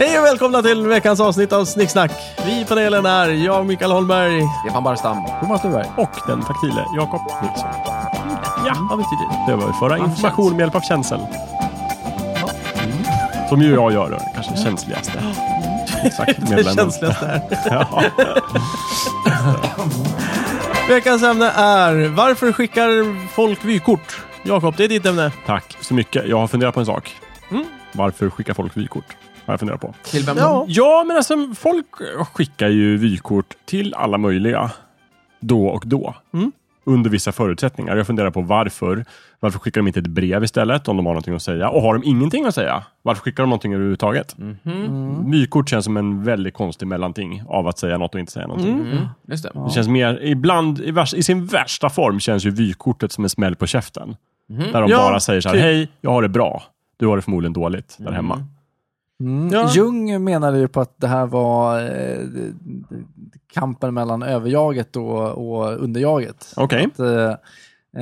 Hej och välkomna till veckans avsnitt av Snicksnack. Vi i panelen är jag, Mikael Holmberg, Stefan Barstam. Thomas Norberg och den taktile Jakob Nilsson. Ja, vad betyder det? Det var att föra information med hjälp av känsel. Som ju jag gör, då, det kanske känsligaste. Exakt, medlemmen. känsligaste här. Veckans ämne är Varför skickar folk vykort? Jakob, det är ditt ämne. Tack så mycket. Jag har funderat på en sak. Varför skickar folk vykort? Har jag funderat på. Till vem Ja. då? Ja, men alltså folk skickar ju vykort till alla möjliga. Då och då. Mm. Under vissa förutsättningar. Jag funderar på varför. Varför skickar de inte ett brev istället om de har någonting att säga? Och har de ingenting att säga? Varför skickar de någonting överhuvudtaget? Mm-hmm. Mm. Vykort känns som en väldigt konstig mellanting av att säga något och inte säga någonting. Mm-hmm. Mm, just det. Det känns mer, ibland, i, värst- i sin värsta form känns ju vykortet som en smäll på käften. Där de Ja, bara säger så här, typ. Mm. hej, jag har det bra. Du har det förmodligen dåligt där hemma. Ja. Jung menade ju på att det här var eh, kampen mellan överjaget och, och underjaget. Okej, Att, eh,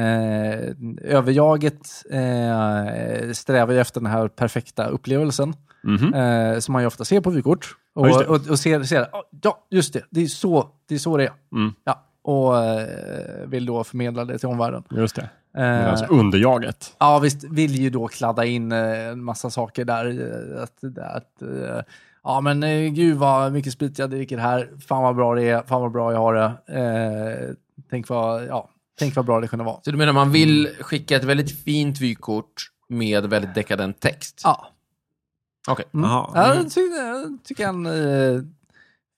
eh, överjaget eh, strävar ju efter den här perfekta upplevelsen Mhm. eh, som man ju ofta ser på vykort. Och, Ja, just det. och, och ser, ser "Ah, ja, just det, det är så det är. Så det är. Mm. Ja, och eh, vill då förmedla det till omvärlden. just det. Eh, Medans underjaget. Ja, visst vill ju då kladda in eh, en massa saker där. eh, Att, att, eh, ja, men eh, gud vad mycket sprit jag dricker här. Fan vad bra det är. Fan vad bra jag har det. Eh, tänk, vad, ja, tänk vad bra det kunde vara. Så du menar man vill skicka ett väldigt fint vykort med väldigt dekadent text? Ja, Okej. mm. Aha. ja jag ty- jag tycker han eh,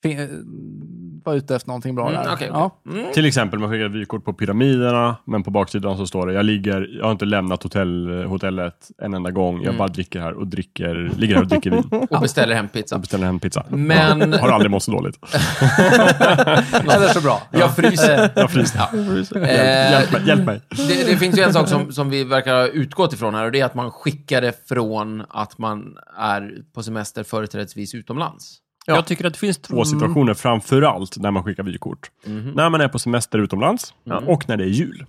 fin- eh, var ute efter någonting bra Mm, där. okej, okej. Ja. Mm. Till exempel, man skickar vykort på pyramiderna, men på baksidan så står det, jag ligger, jag har inte lämnat hotell, hotellet en enda gång, jag bara dricker här och dricker, ligger här och dricker vin. Och beställer hem pizza. Och beställer hem pizza. Men- Har aldrig mått så dåligt. Eller så bra. Jag fryser. Jag fryser. Ja. Hjälp, hjälp mig, hjälp mig. Det, det finns ju en sak som, som vi verkar ha utgått ifrån här och det är att man skickar det från att man är på semester företrädesvis utomlands. Jag tycker att det finns Mm. två situationer, framför allt när man skickar vykort. Mm-hmm. När man är på semester utomlands och när det är jul.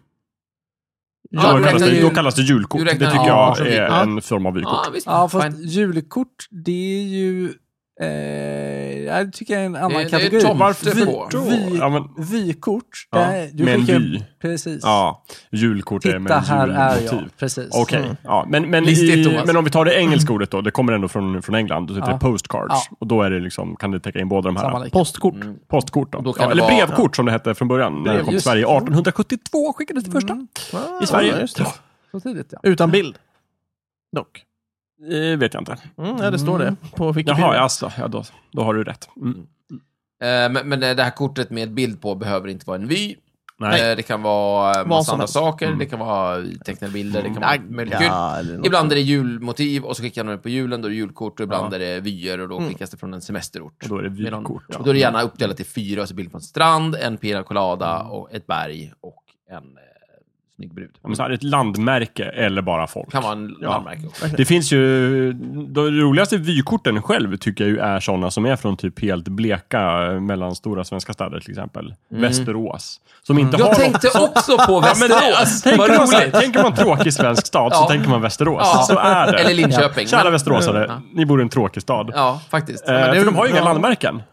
Ja, då, du kallas räknar det, ju- då kallas det julkort. du Det räknar tycker julkort som jag är vykort. en form av vykort. Ja, visst. Ja, fast Fine. julkort, det är ju... Eh, jag tycker jag är en annan det är kategori. tomte Vy- på. vy- Ja, men- Vykort. Ja, där- du med en skickar ju- vy. Precis. Ja, julkort är med Titta, en här är julmotiv. jag. Precis. Okej, ja, men, men, Listigt, i, mm. Thomas. men om vi tar det engelska ordet då, det kommer ändå från, från England, då heter Ja. det postcards. Ja. Och då är det liksom, kan det täcka in båda de här. Samma lika. Postkort. Postkort då. Mm. Då kan ja, det eller vara- brevkort som det hette från början, när det kom till Just- Sverige. Mm. 1872 skickades det första i Sverige. Så tidigt, ja. Utan bild, dock. Eh, vet jag inte. Mm, ja, det står det på Wikipedia. Jaha, alltså, ja, då, då har du rätt. Mm. Eh, Men, men det här kortet med bild på behöver inte vara en vy. Nej. Mm. Eh, Det kan vara en Vad massa som andra helst. saker, det kan vara tecknade bilder, det kan vara möjligt kul. eller något. Ibland är det julmotiv och så skickar man det på julen, då är det julkort och ibland är det vyer och då Mm. skickas det från en semesterort. Och då är det Medan- vykort. och Då är det gärna uppdelat i fyra, så bild på en strand, en pina colada, Mm. och ett berg och en eh, snygg brud. Ja, men så här, ett landmärke eller bara folk. kan vara en Ja. landmärke också. Det finns ju, de roligaste vykorten själv tycker jag ju är sådana som är från typ helt bleka mellanstora svenska städer till exempel. Västerås. Som inte har Mm. Jag något- tänkte också på Ja, men, det- Västerås! alltså, tänker, Vad man, så här, roligt! tänker man tråkig svensk stad Ja. så tänker man Västerås. Ja. Så är det. Eller Linköping. Kära men- Mm. västeråsare, ni bor i en tråkig stad. Ja, faktiskt. Eh, Men det- för de har ju inga ja. landmärken.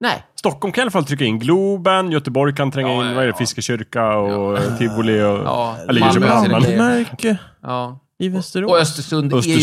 Nej. Stockholm kan i alla fall trycka in Globen, Göteborg kan tränga Ja, in ja, vad är det, ja. Fiskekyrka och Tivoli. Och, Ja, eller ligger i Malmö Köpenhamn. ser det men- grejer. Märke Ja. i Västerås. Och Östersund, är ju någonting.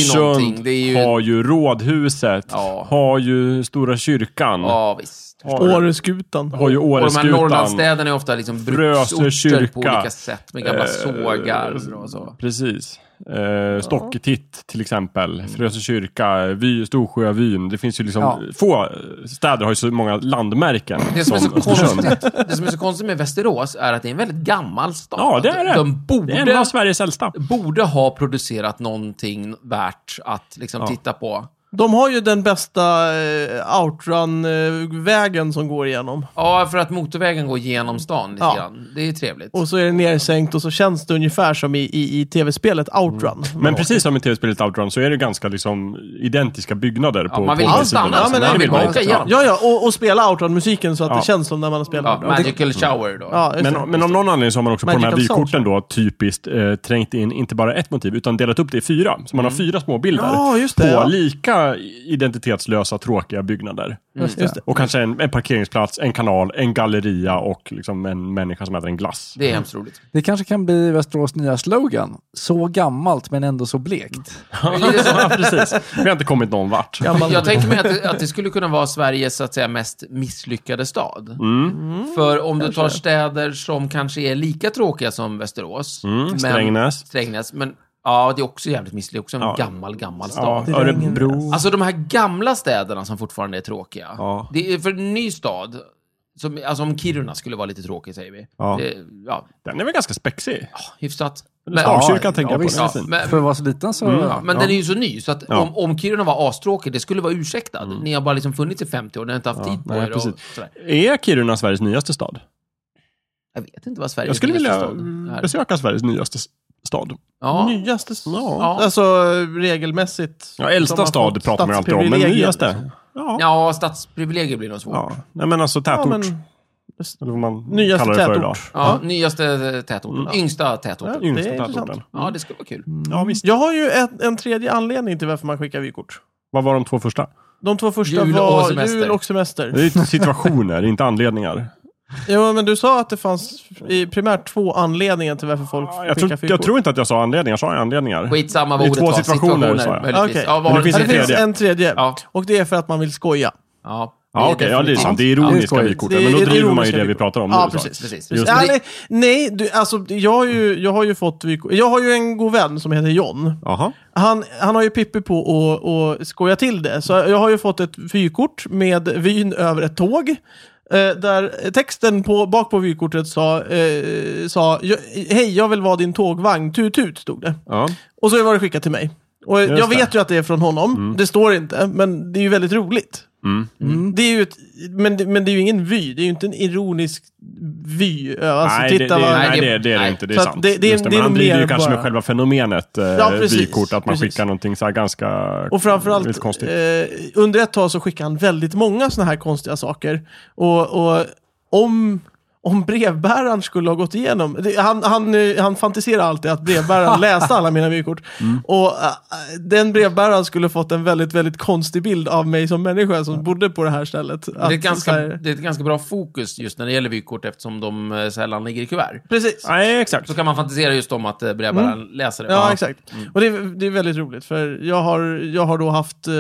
Östersund Det är ju... har ju Rådhuset, Ja. har ju Stora kyrkan, Ja, visst. har, Åreskutan. har ju Och de här Åreskutan. Norrlandsstäderna är ofta liksom Frösö bruksorter kyrka. på olika sätt med gamla Eh, sågar och så. Precis. Eh, Stocketitt till exempel, Frösö kyrka, Vy, Storsjövyn. Det finns ju liksom, Ja. få städer har ju så många landmärken Det som, är så som Östersund. konstigt, det som är så konstigt med Västerås är att det är en väldigt gammal stad. Ja, det är det. De Det är en av borde, Sveriges äldsta. borde ha producerat någonting värt att liksom titta på. De har ju den bästa eh, outrun-vägen som går igenom. Ja, för att motorvägen går genom stan lite Ja. grann. Det är ju trevligt. Och så är det nersänkt och så känns det ungefär som i, i, i tv-spelet Outrun. Men precis som i tv-spelet Outrun så är det ganska liksom identiska byggnader på, man vill på inte de sidorna. stanna, alltså, men Det man vill åka ju. igenom. Ja, ja, och, och spela Outrun-musiken så att Ja. det känns som när man har ja, spelat Outrun. magical shower då. Ja, just det. Men, men av någon anledning så har man också på de här Magical vykorten då typiskt eh, trängt in inte bara ett motiv utan delat upp det i fyra. Så man har fyra små bilder Ja, just det, på ja. lika många identitetslösa, tråkiga byggnader. Just det. Och kanske en, en parkeringsplats, en kanal, en galleria och liksom en människa som äter en glass. Det är hemskt roligt. det kanske kan bli Västerås nya slogan. Så gammalt men ändå så blekt. Mm. Lite så. Ja, precis. Vi har inte kommit någon vart. Gammal. Jag tänker mig att det, att det skulle kunna vara Sveriges så att säga, mest misslyckade stad. Mm. För om du tar städer som kanske är lika tråkiga som Västerås. men- Mm, Strängnäs. Strängnäs. Men ja, det är också jävligt misslyckat. Också en Ja. gammal, gammal stad. Ja, Örebro. Alltså de här gamla städerna som fortfarande är tråkiga. Ja. Det är för en ny stad, som, alltså om Kiruna skulle vara lite tråkig säger vi. Ja. Det, ja Den är väl ganska spexig? hyfsat. Stavkyrkan tänker jag ja, på. visst. Den är ja, fin. men, För att vara så liten så... Ja. men den är ju så ny, så att Mm. Ja. Mm. om, om Kiruna var astråkig, det skulle vara ursäktad. Ni har bara liksom funnits i 50 år, ni har inte haft tid på nej, er. Och, precis. sådär. Är Kiruna Sveriges nyaste stad? Jag vet inte vad Sverige Jag skulle Mm. är för vilja stad här. besöka Sveriges nyaste s- stad. Ja. Nyaste s- Ja. Alltså regelmässigt. Ja, äldsta stad pratar man alltid om, men nyaste? Ja. ja, stadsprivilegier blir nog svårt. Ja. ja. Nej, men alltså tätort. Ja, men, Eller vad man Nyaste kallar det för tätort. idag. nyaste tätorten. Mm. Yngsta tätorten. Ja. Ja. Yngsta Det är tätorten. intressant. det skulle vara kul. Ja, visst. Mm. jag har ju en, en tredje anledning till varför man skickar vykort. Vad var de två första? De två första Jul och var semester. jul och semester. Det är ju situationer, inte anledningar. Jo, men du sa att det fanns i primärt två anledningar till varför folk Jag, tror- skickar jag tror inte att jag sa anledningar. Sa jag anledningar? Skitsamma vad I ordet två var. situationer, sa jag. möjligtvis. Okej. Ja, vad Men har det du- finns Ja, en det finns tredje. en tredje. Ja. Och det är för att man vill skoja. Ja, Ja, okej. Ja, det är sant. Det är ironiska Ja, det är vykort. Men då Det är driver man ju ironiska det vi vykort. pratar om. Ja, nu, så. precis. Precis. Just Ja, Ja, det- eller, nej, du, alltså, jag, har ju, jag har ju fått vykort. Jag har ju en god vän som heter John. Jaha. Han, han har ju Pippi på och, och skoja till det. Så jag har ju fått ett vykort med vyn över ett tåg. Eh, där texten på, bak på vykortet sa, eh, sa "Jag- Hej, jag vill vara din tågvagn. Tut tut, stod det. Ja. Och så var det skickat till mig. Och Just jag vet det. ju att det är från honom. Det står inte, men det är ju väldigt roligt. Mm. Det är ju ett, men, det, men det är ju ingen vy. Det är ju inte en ironisk vy. Alltså, nej, det, titta det, vad... nej, Nej, det, det är det nej. inte. Det är Så att sant. det- det är- Just det är men han nog driver mer ju kanske bara- med själva fenomenet eh, Ja, precis. vykort, att man Precis. skickar någonting så här ganska... Och Lite framförallt, konstigt. eh, under ett tag så skickade han väldigt många sådana här konstiga saker. Och, och om, om brevbäraren skulle ha gått igenom, det, han, han, eh, han fantiserar alltid att brevbäraren läste alla mina vykort. Mm. Och eh, den brevbäraren skulle fått en väldigt, väldigt konstig bild av mig som människa som bodde på det här stället. Mm. Det är, Att ett ganska, så här- det är ett ganska bra fokus just när det gäller vykort eftersom de eh, sällan ligger i kuvert. Precis. Nej, exakt. Så kan man fantisera just om att eh, brevbäraren Mm. läser det. Ja, exakt. Mm. Och det är, det är väldigt roligt, för jag har, jag har då haft eh,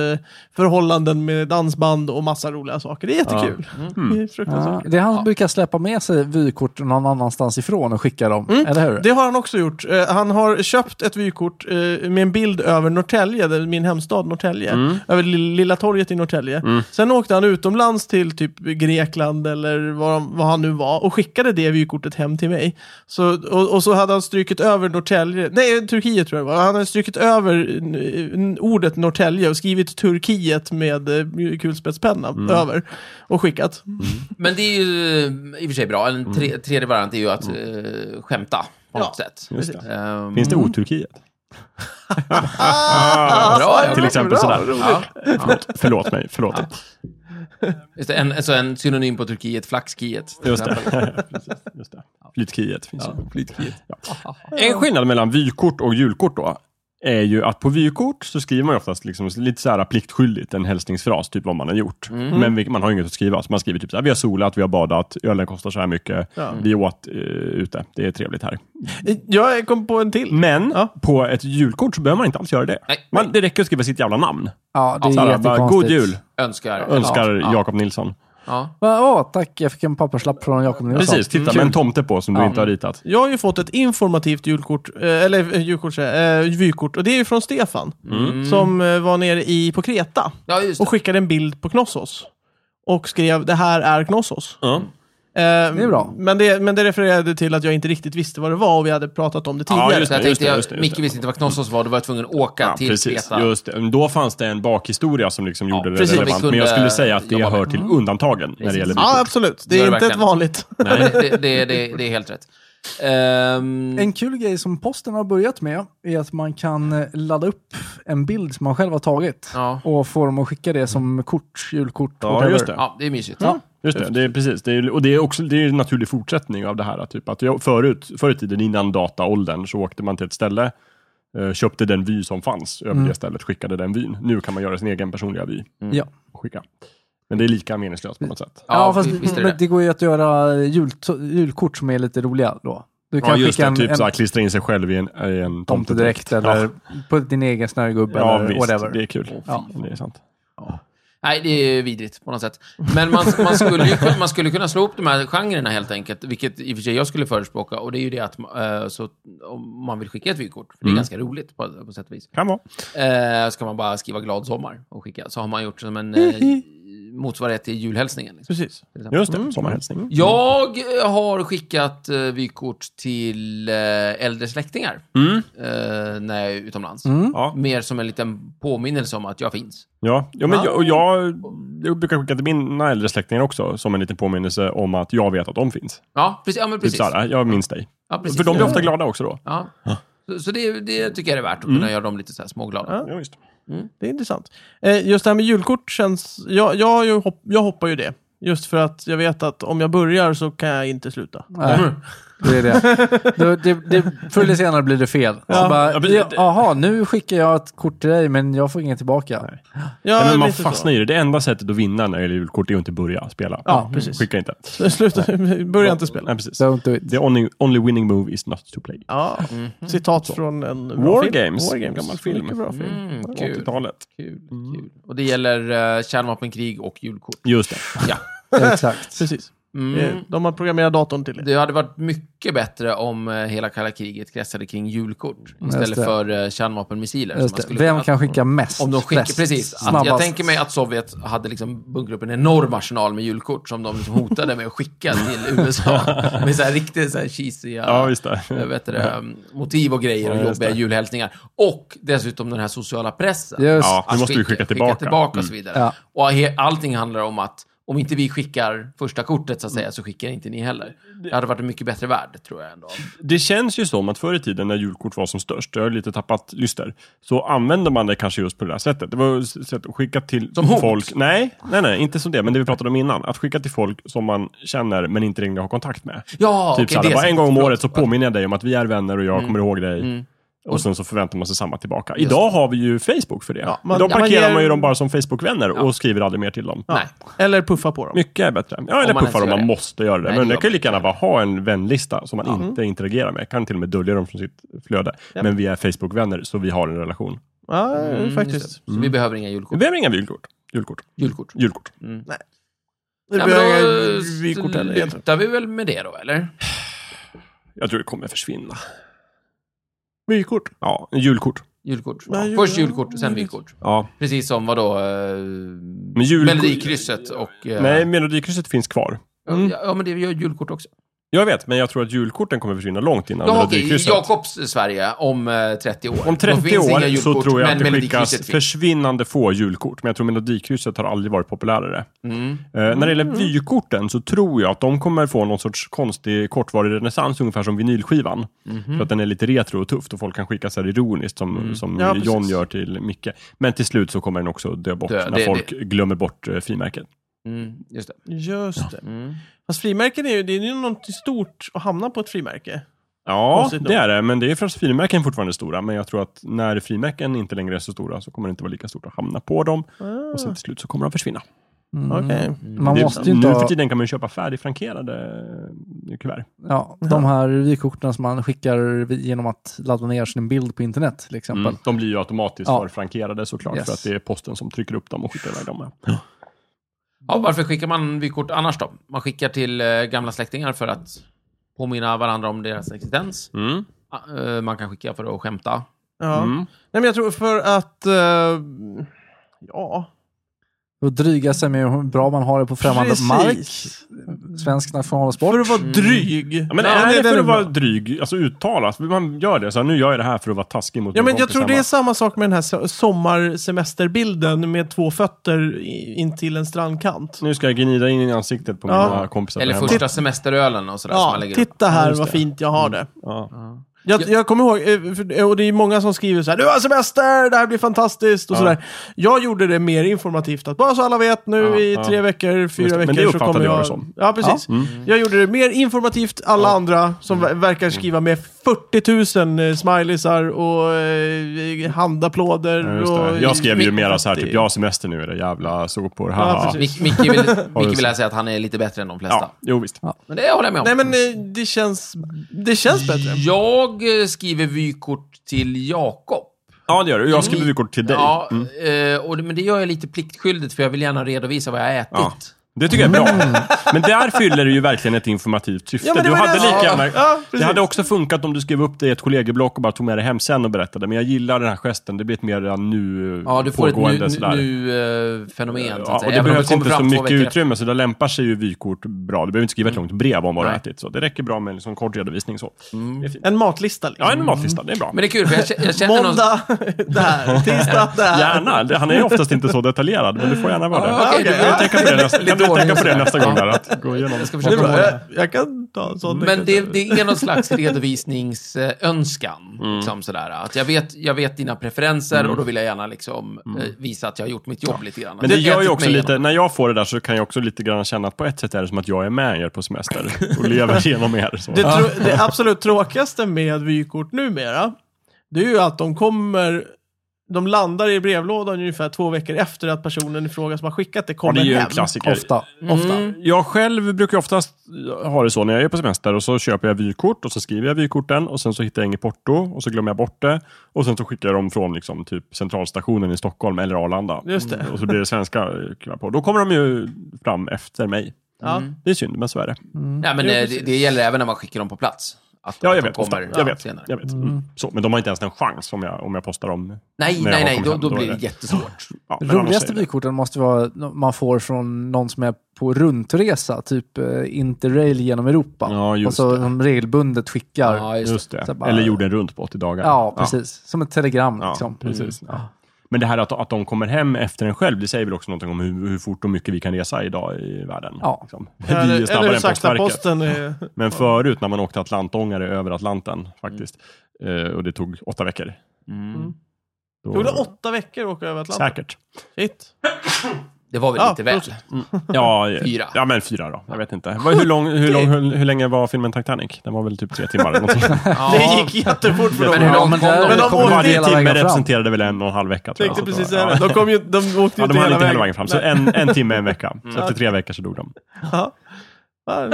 förhållanden med dansband och massa roliga saker. Det är jättekul. Mm. Det är fruktansvärt kul. Det är han som brukar släppa med sig vykort någon annanstans ifrån och skicka dem, Mm. eller hur? Det har han också gjort. Eh, han har köpt ett vykort eh, med en bild över Norrtälje, där- min hemstad Norrtälje. Över Lill- Lilla torget i Norrtälje. Sen åkte han utomlands till typ Grekland eller vad, de- vad han nu var och skickade det vykortet hem till mig. Så, och, och så hade han strykit över Norrtälje, nej Turkiet tror jag det var. Han hade strykit över eh, ordet Norrtälje och skrivit Turkiet med eh, kulspetspenna över och skickat. Men det är ju eh, i och för sig bra. En tre, Mm. tredje variant är ju att eh, skämta på något sätt. Just det. Ehm, Finns det Mm. oturkiet? bra, alltså, ja. Till exempel bra, sådär. roligt. Ja, Förlåt, förlåt mig. Förlåt. just det, en, alltså en synonym på Turkiet, flaxkiet. till Just exempel. det. Precis, Just det. Flitkiet finns ju. Flitkiet. Ja. En skillnad mellan vykort och julkort då är ju att på vykort så skriver man ju oftast liksom lite så här pliktskyldigt en hälsningsfras, typ vad man har gjort. Men vi, man har ju inget att skriva, så man skriver typ så här, vi har solat, vi har badat, ölen kostar så här mycket, vi åt eh, ute, det är trevligt här. Jag kom på en till. Men på ett julkort så behöver man inte alls göra det. Nej. Man, det räcker att skriva sitt jävla namn. Ja, det är Så här, bara, jättekonstigt. God jul, Önskar. önskar Ja, Jakob Nilsson. Ja. Va, åh, tack, jag fick en papperslapp från Jakob Nilsson. Precis, titta med en tomte på som du inte har ritat. Jag har ju fått ett informativt julkort, eh, eller eh, julkort, säger jag, eh, vykort, och det är ju från Stefan. Mm. Som eh, var nere i, på Kreta ja, just det. och skickade en bild på Knossos. Och skrev det här är Knossos. Ja. det är bra. Men det, men det refererade till att jag inte riktigt visste vad det var och vi hade pratat om det tidigare. just Så jag tänkte, det, just det, just det, jag, just det. Micke visste inte vad Knossos var, då var jag tvungen att åka Ja, till precis. Kreta. Just det. Men Då fanns det en bakhistoria som liksom gjorde det precis. relevant. Vi kunde Men jag skulle säga att det jobba med. hör till undantagen när det gäller Ja, vykort. absolut. Det Gör är det inte ett verkligen. vanligt. Nej, det, det, det, det är helt rätt. Ehm, Mm. En kul grej som posten har börjat med är att man kan eh, ladda upp en bild som man själv har tagit Ja. och få dem att skicka det som kort, julkort, Mm. Ja, whatever. just det. ja, det är mysigt. Just det, det är precis. Det är, och det är också det är en naturlig fortsättning av det här. Typ att jag, förut, förr i tiden, innan dataåldern, så åkte man till ett ställe eh, köpte den vy som fanns över det stället, skickade den vyn. Nu kan man göra sin egen personliga vy Ja. och skicka. Men det är lika meningslöst på något sätt. Ja, Ja, fast vi- visst är det men det går ju att göra jul, julkort som är lite roliga då. Du kan Ja, just skicka det. en, Typ en så här, klistra in sig själv i en, i en tomtedräkt tomtedräkt. eller Ja, på din egen snögubbe ja eller visst. whatever. Det är kul. Ja. Det är sant. Nej, det är vidrigt på något sätt. Men man, man, skulle ju, kunna- man skulle kunna slå upp de här genrerna helt enkelt, vilket i och för sig jag skulle förespråka. Och det är ju det att eh, så, om man vill skicka ett vykort, Mm. för det är ganska roligt på, på sätt och vis, Kan vara. eh, ska man bara skriva glad sommar och skicka. Så har man gjort som en eh, motsvarighet till julhälsningen. Liksom, Precis. till exempel. Just det, Mm. sommarhälsning. Jag eh, har skickat eh, vykort till eh, äldre släktingar Mm. eh, när jag är utomlands. Ja. Mer som en liten påminnelse om att jag finns. Ja, ja men jag, och jag, jag brukar skicka till mina äldre släktingar också som en liten påminnelse om att jag vet att de finns. Ja, precis. Ja, men Typ precis. såhär, jag minns dig. Ja, precis. För de blir ofta glada också då. Ja. Så, så det, det tycker jag är värt att kunna Mm. göra dem lite så här småglada. Ja. Ja, visst. Det är intressant. Eh, just det här med julkort känns... Jag, jag, har ju hopp, jag hoppar ju det. Just för att jag vet att om jag börjar så kan jag inte sluta. Mm. Nej, det är det. Då- det, det. Förr eller senare blir det fel. Så bara, Ja, men det- Jaha, nu skickar jag ett kort till dig men jag får inget tillbaka. Ja, Nej, men man lite så. fastnar i det. Det enda sättet att vinna när det gäller julkort är att inte börja spela. Ja, precis. Skicka inte. Sluta, börja inte spela. Nej, precis. Don't do it. The only, only winning move is not to play. Ja, citat från en bra Mhm. War film. Games, War en gammal film. Mycket bra film. Mm, kul, 80-talet. kul, Mm. kul. Och det gäller eh, kärnvapenkrig och julkort. Just det. Ja. Exakt. Precis. Eh, Mm. De har programmerat datorn till det. Det hade varit mycket bättre om eh, hela kalla kriget kretsade kring julkort istället Mm. det. för eh, kärnvapenmissiler. som Just man det. skulle Vem kunna- kan skicka mest? Om de skickar, bäst, precis. Att Snabbast. jag tänker mig att Sovjet hade liksom bunkrat upp en enorm arsenal med julkort som de liksom hotade med att skicka till USA. Med så här riktigt så här cheesiga Ja, visst det. eh, vet du, det, motiv och grejer Ja, och just jobbiga det. julhälsningar. Och dessutom den här sociala pressen. Just. Ja, nu Att måste vi skicka tillbaka. Mm. Skicka tillbaka och så vidare. Ja. Och he- allting handlar om att om inte vi skickar första kortet så att säga, så skickar inte ni heller. Det hade varit en mycket bättre värld, tror jag ändå. Det känns ju som att förr i tiden när julkort var som störst, jag har lite tappat lyster, så använde man det kanske just på det där sättet. Det var ju s- sätt att skicka till Som hot? folk. Nej, nej, nej, inte som det, men det vi pratade om innan. Att skicka till folk som man känner men inte längre har kontakt med. Ja, typ okej, såhär, det är bara sant. en gång om Förlåt. Mm. året så påminner jag dig om att vi är vänner och jag kommer ihåg dig. Och sen så förväntar man sig samma tillbaka. Idag har vi ju Facebook för det. Ja, man- Idag ja, man parkerar ger- man ju dem bara som Facebook-vänner och skriver aldrig mer till dem. Nej. Eller puffa på dem. Mycket är bättre. Ja, eller man ens puffar om gör man det. måste göra det. Nej, men det jag kan gör Mm. ju lika gärna bara ha en vänlista som man inte interagerar med. Kan till och med dölja dem från sitt flöde. Men vi är Facebook-vänner, så vi har en relation. Ja, Mm, Just faktiskt. det. Så vi behöver inga Vi julkort. behöver inga julkort. Julkort. Julkort. Julkort. Det Ja, blir men inga då vykort heller Mm. egentligen. slutar vi väl med det då, eller? Jag tror det kommer försvinna. Vykort. Ja, julkort. Julkort. Nej, jul- Först ja, julkort, sen jul- vykort. Ja. Precis som vadå? Eh, Men jul- Melodikrysset och... Eh, Nej, Mm. Melodikrysset finns kvar. ja, ja, men det gör julkort också. Jag vet, men jag tror att julkorten kommer försvinna långt innan Ja, okej. I Melodikrysset. Jakobs Sverige om eh, 30 år. Om Då 30 finns inga år så julkort, tror jag men att det skickas Melodikrysset finns. försvinnande få julkort. Men jag tror Melodikrysset har aldrig varit populärare. Mm, Eh, när det gäller vykorten så tror jag att de kommer få någon sorts konstig kortvarig renässans, ungefär som vinylskivan. För att den är lite retro och tufft och folk kan skicka så här ironiskt som, som Ja, John precis. gör till Micke. Men till slut så kommer den också dö bort Dö, när det- folk glömmer bort eh, frimärket. Mm, just det. Mm. Just det. Fast frimärken är ju, det är ju något stort att hamna på ett frimärke. Ja, Konstigt nog. det är det. Men det är för att frimärken är fortfarande stora. Men jag tror att när frimärken inte längre är så stora så kommer det inte vara lika stort att hamna på dem. Och Mm. sen till slut så Mm. kommer de försvinna. Ah, Mm. Okej. Mm. Man Det- måste ju nu inte för ha... tiden kan man ju köpa färdigfrankerade eh, kuvert. Ja, de här vykorten som man skickar vi- genom att ladda ner sin bild på internet till exempel. Mm. Mm. De blir ju automatiskt Ja. förfrankerade såklart, Yes. för att det är posten som trycker upp dem och skickar iväg dem. Ja, varför skickar man vykort annars då? Man skickar till eh, gamla släktingar för att påminna varandra om deras existens. Mm. Ah, eh, man kan skicka för att skämta. Ja. Mm. Nej, men jag tror för att... eh, ja. Och dryga sig med hur bra man har det på främmande precis. mark. Svensk nationalsport. För att vara dryg. Ja, men Ja, är nej, det, den för att bra. vara dryg? Alltså uttalas? Man gör det så här, nu gör jag det här för att vara taskig mot Ja, min men jag kompis tror det hemma. är samma sak med den här so- sommarsemesterbilden med två fötter i- in till en strandkant. Nu ska jag gnida in i ansiktet på Ja. mina kompisar Eller där hemma. första semesterölen och sådär som man Ja, lägger upp. titta här just vad det. Mm. fint jag har det. Ja. Jag, jag kommer ihåg, eh, för- och det är många som skriver så här, du har semester, det här blir fantastiskt och Ja. sådär. Jag gjorde det mer informativt, att bara så alla vet nu Ja, i ja. tre veckor, fyra det, men veckor det så uppfattade kommer jag jag... det som. Mm. Ja, precis. Jag gjorde det mer informativt, alla andra som ver- verkar skriva med 40 000 eh, smileysar och eh, handapplåder. Ja, just det. och, Jag skrev ju Mitt- mera så här, typ, jag har semester nu, era jävla sopor. Ja, Haha. precis. Mic- Micke vill, Micke vill här säga att han är lite bättre än de flesta. Ja, jo visst. Men det håller jag med om. Nej men eh, det känns, det känns bättre. Jag eh, skriver vykort till Jakob. Ja, det gör du. Jag skriver vykort till dig. Mm. Mm. Ja, eh, och, det- men det gör jag lite pliktskyldigt för jag vill gärna redovisa vad jag har ätit. Ja. Det tycker jag är bra. Men där fyller du ju verkligen ett informativt syfte. Mm. Ja, men det du var hade det- lika ja, gärna... ja, precis. det hade också funkat om du skrev upp det i ett kollegieblock och bara tog med det hem sen och berättade. Men jag gillar den här gesten. Det blir ett mer eh, nu Ja, du får pågående ett sådär. nu-fenomen. Nu, eh, Ja, och det behövs inte så mycket utrymme, så det lämpar sig ju vykort bra. Du behöver inte skriva ett långt brev om vad du Mm. Nej. Mm. har ätit. Så. Det räcker bra med en liksom kort redovisning. Så. Det är fint. En matlista Ja, liksom. en matlista. Det är bra. Men det är kul, för jag, kä- jag känner någon... Måndag, där. Tisdag, där. Gärna. Det- Han är ju oftast inte så detaljerad, men du får gärna vara det. Ja, okej, okej, du- ja. Jag tänker på det nästa, jag Lite kan tänka på ordning. det nästa gång. Där, Ja. att gå igenom. Jag ska Det är försöka bra. måla. Jag, jag kan ta en sån. Men det, det är någon slags redovisningsönskan. Mm. Liksom sådär. Att jag, vet, jag vet dina preferenser och då vill jag gärna liksom, eh, visa att jag har gjort mitt jobb lite grann. Mm. Men Att det jag gör ätit ju typ också mig lite, igenom. när jag får det där så kan jag också lite grann känna att på ett sätt är det som att jag är med er på semester och lever genom er. Så. Det, tro, det absolut tråkigaste med vykort numera, det är ju att de kommer, de landar i brevlådan ungefär två veckor efter att personen i fråga som har skickat det Ja, det kommer är ju en hem. klassiker. Ofta. Ofta. Jag själv brukar ju oftast ha det så när jag är på semester och så köper jag vykort och så skriver jag vykorten och sen så hittar jag inget porto och så glömmer jag bort det och sen så skickar jag dem från liksom typ centralstationen i Stockholm eller Arlanda. Just det. Och så blir det svenska eh, krav på. Då kommer de ju fram efter mig. Ja. Mm. Det är synd, men så är det. Nej, men Jo, eh, det, precis. det gäller även när man skickar dem på plats. Att, Ja, jag att de vet. Ofta. ja, Jag vet. senare. Jag vet. Mm. Så, men de har inte ens en chans om jag, om jag postar dem. Nej, när jag nej, har nej, kommit då, hem, då är blir det jättesvårt. Ja, men annars är Roligaste det- vykorten måste vara nå- man får från någon som är på rundresa, typ eh, Interrail genom Europa. Ja, just och så det. de regelbundet skickar. Ja, Ja, just det. Just det. Så bara- Eller jorden runt på 80 dagar. precis. Som ett telegram. Ja, liksom. precis. Ja. Men det här att, att de kommer hem efter en själv, det säger väl också någonting om hur, hur fort och mycket vi kan resa idag i världen. Ja. Liksom. Eller, Vi är snabbare eller hur än sakta postverket. posten är. Men förut när man åkte atlantångare över Atlanten faktiskt, eh, och det tog åtta veckor. Mm. Då, Tog det åtta veckor att åka över Atlanten? Säkert. Shit. Det var väl Ja, lite väl. prost. Ja, eh, Fyra. Ja, men fyra då. Jag vet inte. Vad- Hur, lång, hur, lång, hur, hur länge var filmen Titanic? Den var väl typ tre timmar eller någonting. Ja. Det gick jättefort för Men hur dem. långt kom de? Men de kommer åkte inte Varje hela timme vägen fram. representerade väl en och en halv vecka. Tror jag. Tänkte Så att precis det var- säga det. De, kom ju, de åkte ju Ja, inte de hann hela inte vägen. hela vägen fram. Så en, en timme, en vecka. Så efter tre veckor så dog de. Ja. Ja.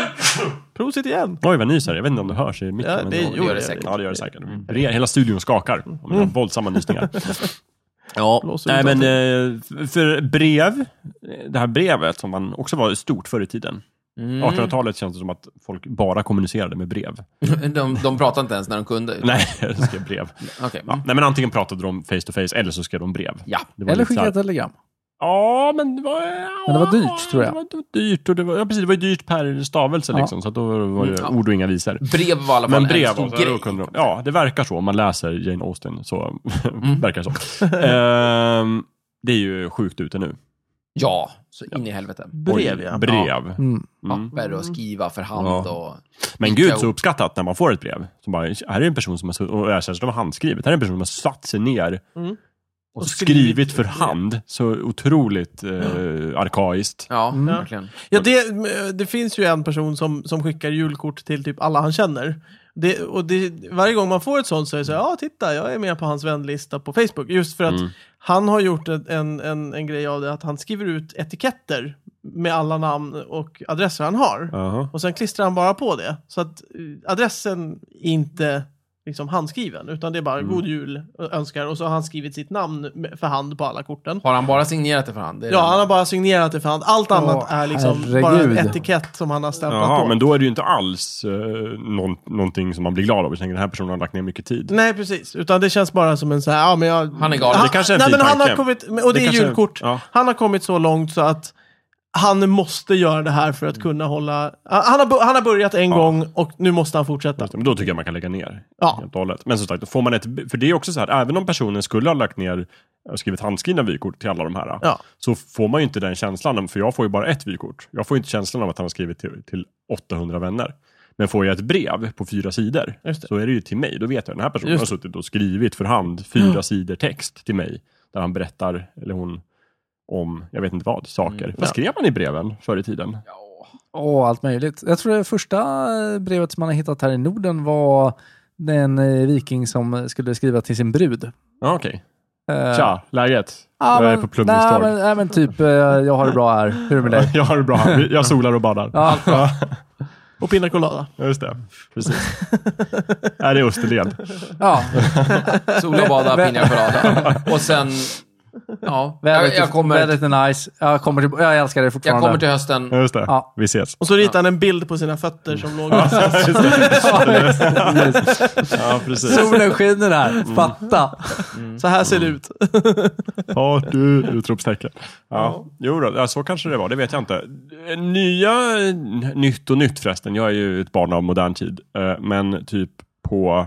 Prosit igen. Oj, vad nyser. Jag vet inte om det hörs i micken. Ja, men det var- gör det säkert. Ja, det gör det säkert. Re- Hela studion skakar. Om mm. Våldsamma nysningar. Ja, Blåser nej, ut men eh, för brev, eh, det här brevet som man också var stort förr i tiden. Mm. 1800-talet känns det som att folk bara kommunicerade med brev. De, de pratade inte ens när de kunde. Nej, de skrev brev. Okej. Ja, nej, men antingen pratade de face to face eller så skrev de brev. Ja. Det var Eller lite så skicka här- ett telegram. Ja, men det var... Men det var dyrt, tror jag. Det var, det var dyrt och det var, ja, precis, det var ju dyrt per stavelse Ja. liksom. Så att då var det Mm. ord och inga visor. Brev var i alla fall Men brev, en och stor så här, då grej. kunde de, ja det verkar så. Om man läser Jane Austen så verkar det så. Ehm, det är ju sjukt ute nu. Ja, så in i helvete. Brev, Oj, ja. Brev. Mm. Papper och skriva för hand Ja. och... Men gud så uppskattat när man får ett brev. Så bara, här är en person som har, sutt- och jag känner att de har handskrivet. Här är en person som har satt sig ner och, skrivit, skrivit. för hand. Så otroligt eh, arkaiskt. Ja, Mm. verkligen. Ja, det, eh, det finns ju en person som, som skickar julkort till typ alla han känner. Det, och det, varje gång man får ett sånt så är det så här, ja titta, jag är med på hans vänlista på Facebook. Just för att han har gjort ett- en, en, en grej av det, att han skriver ut etiketter med alla namn och adresser han har. Jaha. Och sen klistrar han bara på det. Så att eh, adressen är inte liksom handskriven, utan det är bara god jul ö- önskar. Och så har han skrivit sitt namn med- för hand på alla korten. Har han bara signerat det för hand? Det är Ja, det. han har bara signerat det för hand. Allt annat är liksom herregud. bara en etikett som han har stämplat Jaha, på. men då är det ju inte alls eh, någon, någonting som man blir glad av. Jag tänker den här personen har lagt ner mycket tid. Nej, precis. Utan det känns bara som en så här, ja men jag... Han är galen. Han, Det kanske är en nej, fin men han har tanke. kommit, och det, är Det kanske- julkort. ja. Han har kommit så långt så att han måste göra det här för att kunna hålla... Han har, bo- han har börjat en gång och nu måste han fortsätta. Men då tycker jag man kan lägga ner. Mm. Ja. Helt och hållet. Men som sagt, får man ett, för det är också så här, även om personen skulle ha lagt ner och skrivit handskrivna vykort till alla de här, Ja. så får man ju inte den känslan, för jag får ju bara ett vykort. Jag får ju inte känslan av att han har skrivit till, till 800 vänner. Men får jag ett brev på fyra sidor, Just det. så är det ju till mig. Då vet jag, den här personen Just har suttit och skrivit för hand fyra sidor text till mig, där han berättar, eller hon, om, jag vet inte vad, saker. Vad skrev man i breven förr i tiden? Ja. eh, Åh, allt möjligt. Jag tror det första brevet som man har hittat här i Norden var Det är en eh, viking som skulle skriva till sin brud. Ja, okej. Eh, Tja, läget? Ja, jag är men- på nej, Plumringstorg. men, nej, men typ, eh, jag har det bra här. Hur är det med dig? Jag har det bra. Jag solar och badar. Ja. Ja, Och Pina Colada. just det. Precis. Nej, det är Österled. Ja, Sol och bada, pina colada. Och sen... Ja, jag, vädret, jag, kommer, vädret är nice. Jag, kommer till, jag älskar det jag fortfarande. kommer till hösten. Ja, Just det. Ja. Vi ses. Och så ritar han en bild på sina fötter som låg någonstans. Just det. Precis. Ja, precis. Solen skiner Mm. här. Fatta. Så här ser det ut. Party! Utropstecken. Ja. Jo då, ja, så kanske det var. Det vet jag inte. Nya, n- nytt och nytt förresten. Jag är ju ett barn av modern tid. Eh, Men typ på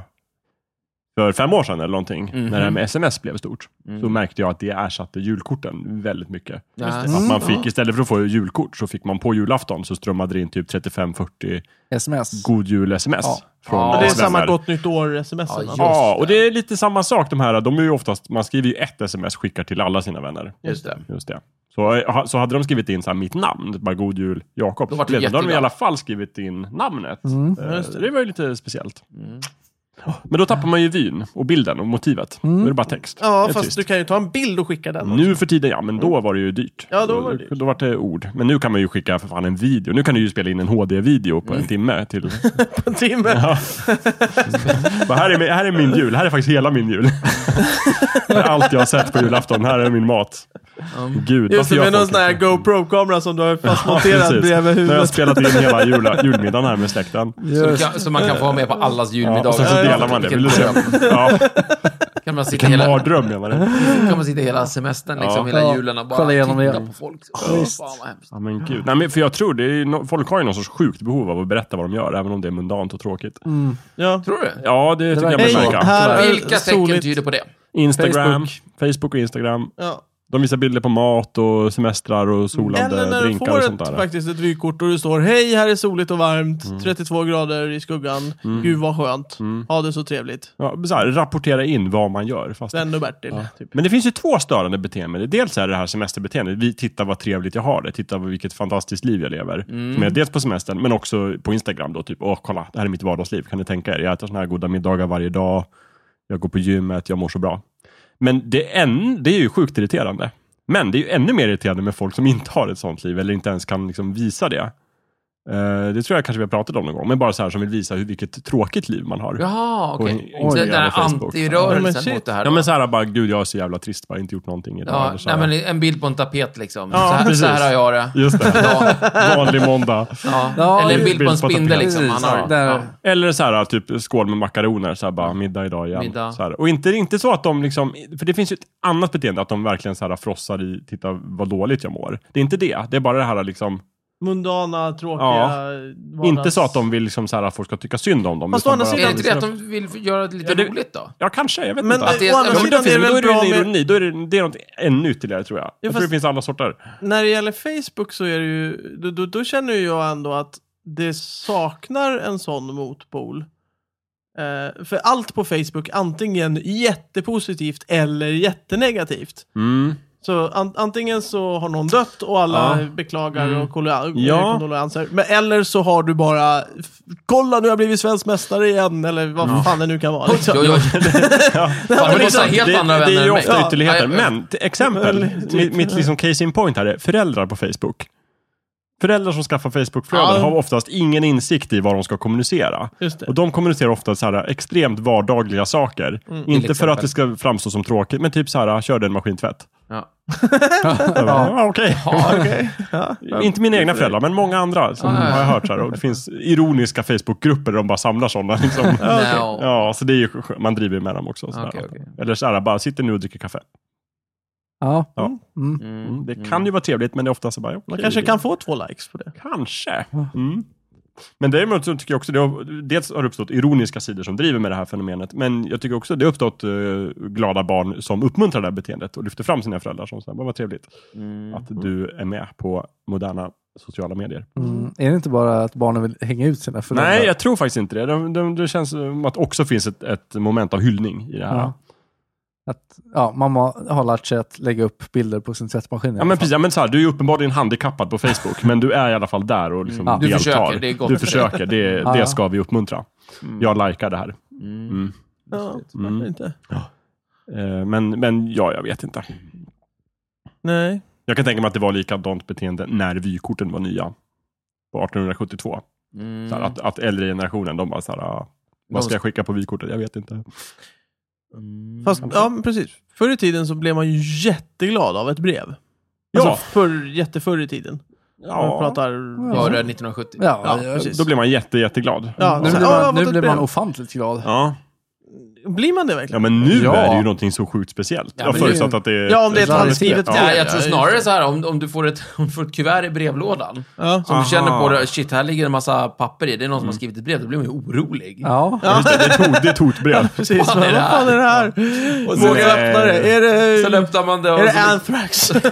för fem år sedan eller någonting, Mhm. när det här med sms blev stort, så Mm. märkte jag att det ersatte julkorten väldigt mycket. Ja. Att man fick, istället för att få julkort, så fick man på julafton så strömmade det in typ 35-40 Sms. god jul-sms. Ja. Från Ja, Men det är vänner. samma gott nytt år-sms. Ja, Ja, Ja, Just och det. det är lite samma sak de här. De är ju oftast, man skriver ju ett sms, skickar till alla sina vänner. Just det. Just det. Så, ha- så hade de skrivit in så här, mitt namn, bara God Jul Jakob, Då var det då hade de i jätteglad. alla fall skrivit in namnet. Mm. Eh, det. var ju lite speciellt. Men då tappar man ju vyn och bilden och motivet. Nu är det bara text. ja det är Mm. fast trist. du kan ju ta en bild och skicka den. Nu för tiden, ja, men då var det ju dyrt. Ja, då var det dyrt. Då, var det ord. Men nu kan man ju skicka för fan en video. Nu kan du ju spela in en HD-video på en timme. Till, På en timme. Bara, här, är, min- här är min jul, här är faktiskt hela min jul. Här är Allt jag har sett på julafton, här är min mat. Gud, Just varför det, gör med någon folk sån här detta? GoPro-kamera som du har Ja, fastmonterad precis. bredvid Nu har jag huvudet. spelat in hela jula, julmiddagen här med släkten. Så, du kan, så man kan få vara med på allas Ja, och julmiddagar. sen så delar man det. Vill du se? Ja, Kan man sitta vilken hela, mardröm menar du? kan man sitta hela semestern, liksom, Ja. hela julen och bara Kolla igenom titta det. på folk. Oh, fan vad hemskt. Ja, men gud. Nej, men för jag tror det är, ju no- folk har ju någon sorts sjukt behov av att berätta vad de gör, även om det är mundant och tråkigt. Mm. Ja. Tror du? Ja, det tycker jag man verkar så. Hej, märker. här är Vilka tecken soligt. tyder på det? Instagram, Facebook och Instagram. Ja. De visar bilder på mat och semestrar och Eller solande när du drinkar och sånt eh, får ett, där. Mm. faktiskt ett vykort och det står Hej, här är soligt och varmt, 32 grader i skuggan, gud vad skönt, ha det så trevligt. Ja, så här, rapportera in vad man gör. Fast Sven och Bertil. Typ. Men det finns ju två störande beteenden. Dels är det här semesterbeteendet. Vi tittar vad trevligt jag har det. Titta vad- vilket fantastiskt liv jag lever. Som är dels på semestern, men också på Instagram. Då, typ, Åh, kolla, det här är mitt vardagsliv. Kan ni tänka er? Jag äter såna här goda middagar varje dag. Jag går på gymmet, jag mår så bra. Men det är, en, det är ju sjukt irriterande. Men det är ju ännu mer irriterande med folk som inte har ett sånt liv eller inte ens kan liksom visa det. Eh, det tror jag kanske vi har pratat om någon gång, men bara så här som vill visa hur, vilket tråkigt liv man har. Jaha, okej. Oj, Den jävla där Facebook. Ja, men antirörelsen shit. mot det här. Ja då. men så här bara, gud jag är så jävla trist, bara inte gjort någonting idag. Ja, eller så nej, här. men en bild på en tapet liksom. Ja, så, här, precis. så här har jag det. Just det. Ja, Vanlig måndag. ja. Ja, Eller en bild på en bild på en spindel tapet. liksom. Han har, Precis, där. Eller så här, typ skål med makaroner, så här bara middag idag igen. Middag. Så här. Och inte, inte så att de liksom, för det finns ju ett annat beteende, att de verkligen så här frossar i, titta vad dåligt jag mår. Det är inte det, det är bara det här liksom, Mundana, tråkiga Ja. vardags- inte så att de vill liksom så här, att folk ska tycka synd om dem. Fast utan å andra bara- Är det inte det sidan- att de vill göra det lite liksom. Ja, det- roligt då? Ja, kanske, jag vet Men inte. Att det det, å är- Ja, andra men då sidan finns- är det men då väl är det bra ju en med... ironi, då är det, det är något ännu ytterligare tror jag. jag tror det fast- finns alla sorter. När det gäller Facebook så är det ju... Då, då, då känner ju jag ändå att det saknar en sån motpol. Eh, för allt på Facebook antingen jättepositivt eller jättenegativt. Mm. Så an, antingen så har någon dött och alla Ja. Mm. beklagar och kolla- Ja. kondolenser. Men eller så har du bara, f- kolla nu har jag blivit svensk mästare igen, eller vad fan det nu kan vara. Liksom. Jo, jo. Fan, det måste ha helt det, andra det vänner är ju än mig. ofta Ja, ytterligheter. nej, men till exempel, Eller typ- mitt, mitt liksom case in point här är föräldrar på Facebook. Föräldrar som skaffar Facebook-flöden Ja. har oftast ingen insikt i vad de ska kommunicera. Just det. Och de kommunicerar ofta så här extremt vardagliga saker. Inte för Mm. exempel. att det ska framstå som tråkigt, men typ så här, körde en maskintvätt. Ja. Jag bara, Ja, okej. Ja, Inte mina egna föräldrar, men många andra som Ja, ja, ja. har jag hört. Så här, och det finns ironiska Facebookgrupper där de bara samlar sådana. Liksom. no. Ja, så det är ju, man driver ju med dem också. Så här. Okej, okej. Eller så här, bara sitter nu och dricker kaffe. Ja. Ja. Mm. Mm, det kan Mm. ju vara trevligt, men det är ofta så bara, okej. Man kanske kan få två likes på det. Kanske. Mm. Men däremot så tycker jag också, det har, dels har det uppstått ironiska sidor som driver med det här fenomenet, men jag tycker också det har uppstått eh, glada barn som uppmuntrar det här beteendet och lyfter fram sina föräldrar som säger, vad trevligt Mm. att du är med på moderna sociala medier. Mm. Är det inte bara att barnen vill hänga ut sina föräldrar? Nej, jag tror faktiskt inte det. Det, det, det känns som att också finns ett, ett moment av hyllning i det här. Ja. Ja, Att, ja, mamma har lärt sig att lägga upp bilder på sin tvättmaskin. i alla men fall. precis. Ja, men så här, du är ju uppenbarligen handikappad på Facebook, men du är i alla fall där och liksom Ja. Du deltar. försöker, det är gott. Du försöker, det, Ja, ja. det ska vi uppmuntra. Jag likar det här. Mm. Mm. Ja, Mm. varför inte? Eh, Men, men ja, jag vet inte. Nej. Jag kan tänka mig att det var likadant beteende när vykorten var nya. På 1872. Mm. Så här, att, att äldre generationen, de bara så här, ah, vad ska jag skicka på vykortet? Jag vet inte. Mm. Fast, ja men precis. Förr i tiden så blev man ju jätteglad av ett brev. Alltså Ja. förr, jätteförr i tiden. Jag Ja, pratar... Var det 1970? Ja, Ja, jag- precis. då blir man jätte, jätteglad. Ja, Nu så- blir ja, jag har fått man, nu ett blir man brev. ofantligt glad. Ja. Blir man det verkligen? ja, men nu Ja. är det ju någonting så sjukt speciellt. Ja, jag men det- förutsatt att det är... Ja, om det är ett Ja, handskrivet ja. brev. Nej, jag tror just snarare det. så här, om, om, du får ett, om du får ett kuvert i brevlådan, Ja. som Aha. Mm. du känner på, det, shit, här ligger en massa papper i, det är någon som har skrivit ett brev, då blir man ju orolig. Ja. Just det, det är tot- det är totbrev. Precis, Fan, vad är det fan är det här? Och sen, Vågar jag öppna det? Är sen det, öppnar man det och är det så, anthrax? Nej,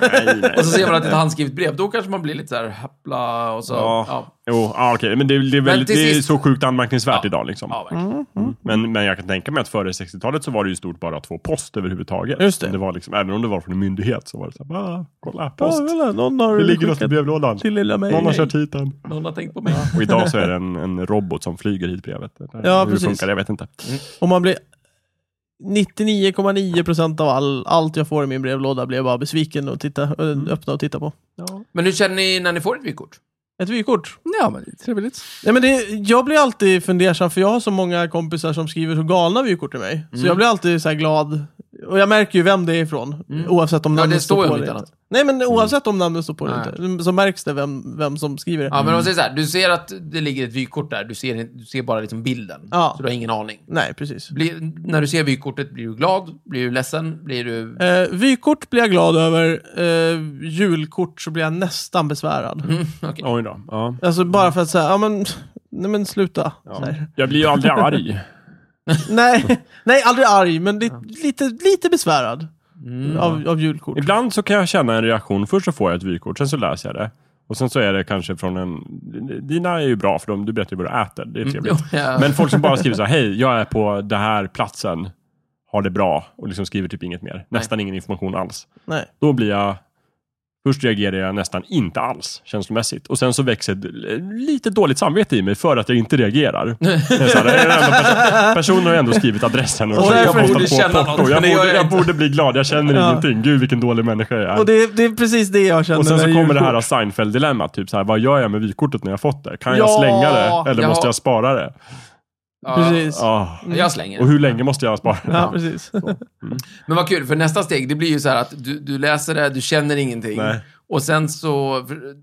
nej. och så ser man att det är ett handskrivet brev, då kanske man blir lite så här, hapla och så. Ja. Ja, ja, Jo, ah, okej. Men det, är- det är, väldigt, till det är sist- så sjukt anmärkningsvärt Ja. idag. Liksom. verkligen. Men, men jag kan tänka mig att före 60-talet så var det ju stort bara att få post överhuvudtaget. Just det. var liksom, även om det var från en myndighet så var det så här, ah, kolla, Ja, post. kolla, någon har det ligger något i skickat brevlådan. till lilla mig. Någon har kört hit den. Någon har tänkt på mig. Och idag så är det en, en robot som flyger hit brevet. Det där- Ja, Hur precis. det funkar, jag vet inte. Och man blir... 99,9% av all, allt jag får i min brevlåda blir jag bara besviken och titta, ö, öppna och titta på. Men hur känner ni när ni får ett vykort? Ett vykort. ja, men det är trevligt. Nej, men det, jag blir alltid fundersam, för jag har så många kompisar som skriver så galna vykort till mig. Mm. Så jag blir alltid så här glad. Och jag märker ju vem det är ifrån, oavsett om Mm. Ja, namnet det står ju på om eller inte inte. Nej, men oavsett om namnet står på Nej. eller inte, så märks det vem, vem som skriver det. Mm. Ja, men om man säger så här, du ser att det ligger ett vykort där, du ser, du ser bara liksom bilden, Ja. så du har ingen aning. Nej, precis. Blir, när du ser vykortet, blir du glad? Blir du ledsen? Blir du... Eh, vykort blir jag glad över, eh, julkort så blir jag nästan besvärad. Okej. Oj då. Ja. Alltså Mm. bara för att säga, ja men, nej men sluta. Så Ja. här. Jag blir ju aldrig arg. Nej, nej, aldrig arg, men li- lite, lite besvärad Mm. av, av julkort. Ibland så kan jag känna en reaktion. Först så får jag ett vykort, sen så läser jag det. Och sen så är det kanske från en... Dina är ju bra, för de, du berättar ju vad du äter. Det är trevligt. Ja. Men folk som bara skriver så här, hej, jag är på den här platsen, har det bra och liksom skriver typ inget mer. Nästan ingen information alls. Nej. Då blir jag, först reagerar jag nästan inte alls känslomässigt och sen så växer ett l- lite dåligt samvete i mig för att jag inte reagererar. Jag är så här, det är den enda perso- Personen har ju ändå skrivit adressen och, Och jag, därför har borde postat känna på något, porto. men Jag, det gör borde, jag jag inte. borde bli glad, jag känner Ja. ingenting. Gud vilken dålig människa jag är. Och det, det är precis det jag känner Och sen så när kommer det julkort- här Seinfeld-dilemmat. Typ så här, vad gör jag med vykortet när jag fått det? Kan Ja, jag slänga det? Eller ja. måste jag spara det? Ja. Precis. Ja, Ah. Jag slänger Och det. hur länge måste jag spara det? precis. Men vad kul, för nästa steg, det blir ju så här att du, du läser det, du känner ingenting. Nej. Och sen så för-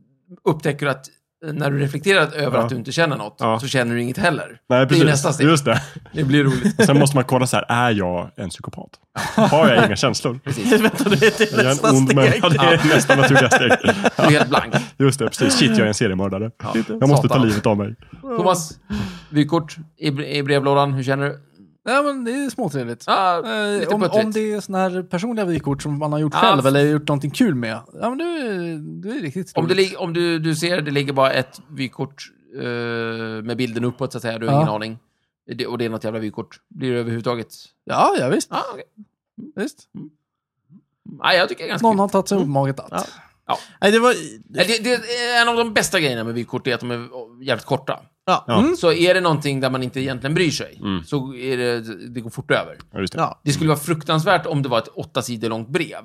upptäcker du att när du reflekterar över Ja. att du inte känner något, Ja. så känner du inget heller. Nej, Det är ju nästa steg. Just det. Det blir roligt. Sen måste man kolla så här, är jag en psykopat? Har jag inga känslor? Vänta, det är det Är jag nästa en ond steg. människa? Det är nästa naturliga steg. Du är helt blank. Just det, precis. Shit, jag är en seriemördare. Jag måste ta Satan. livet av mig. Thomas, vykort i, bre- i brevlådan, hur känner du? Nej, men det är småtrevligt. Ah, Eh, lite om, om puttrigt. det är såna här personliga vykort som man har gjort Ja, själv för- eller gjort någonting kul med. Ja, men det, är- det är riktigt Om, det roligt. lig- om du, du ser, det ligger bara ett vykort eh, med bilden uppåt, så att säga. Du har Ja. ingen aning. Det, och det är något jävla vykort. Blir det överhuvudtaget... Ja, ja visst. Ah, okej. visst. Nej, jag tycker det är ganska Någon kul. har tagit sig uppmaget att. Ja. Nej, det var... Nej, Det, det, är en av de bästa grejerna med vykort är att de är oh, jävligt korta. Ja. Mm. Ja. Mm. Så är det någonting där man inte egentligen bryr sig, så är det, det går fort över. Ja, just det. ja. Det Mm. skulle vara fruktansvärt om det var ett åtta sidor långt brev.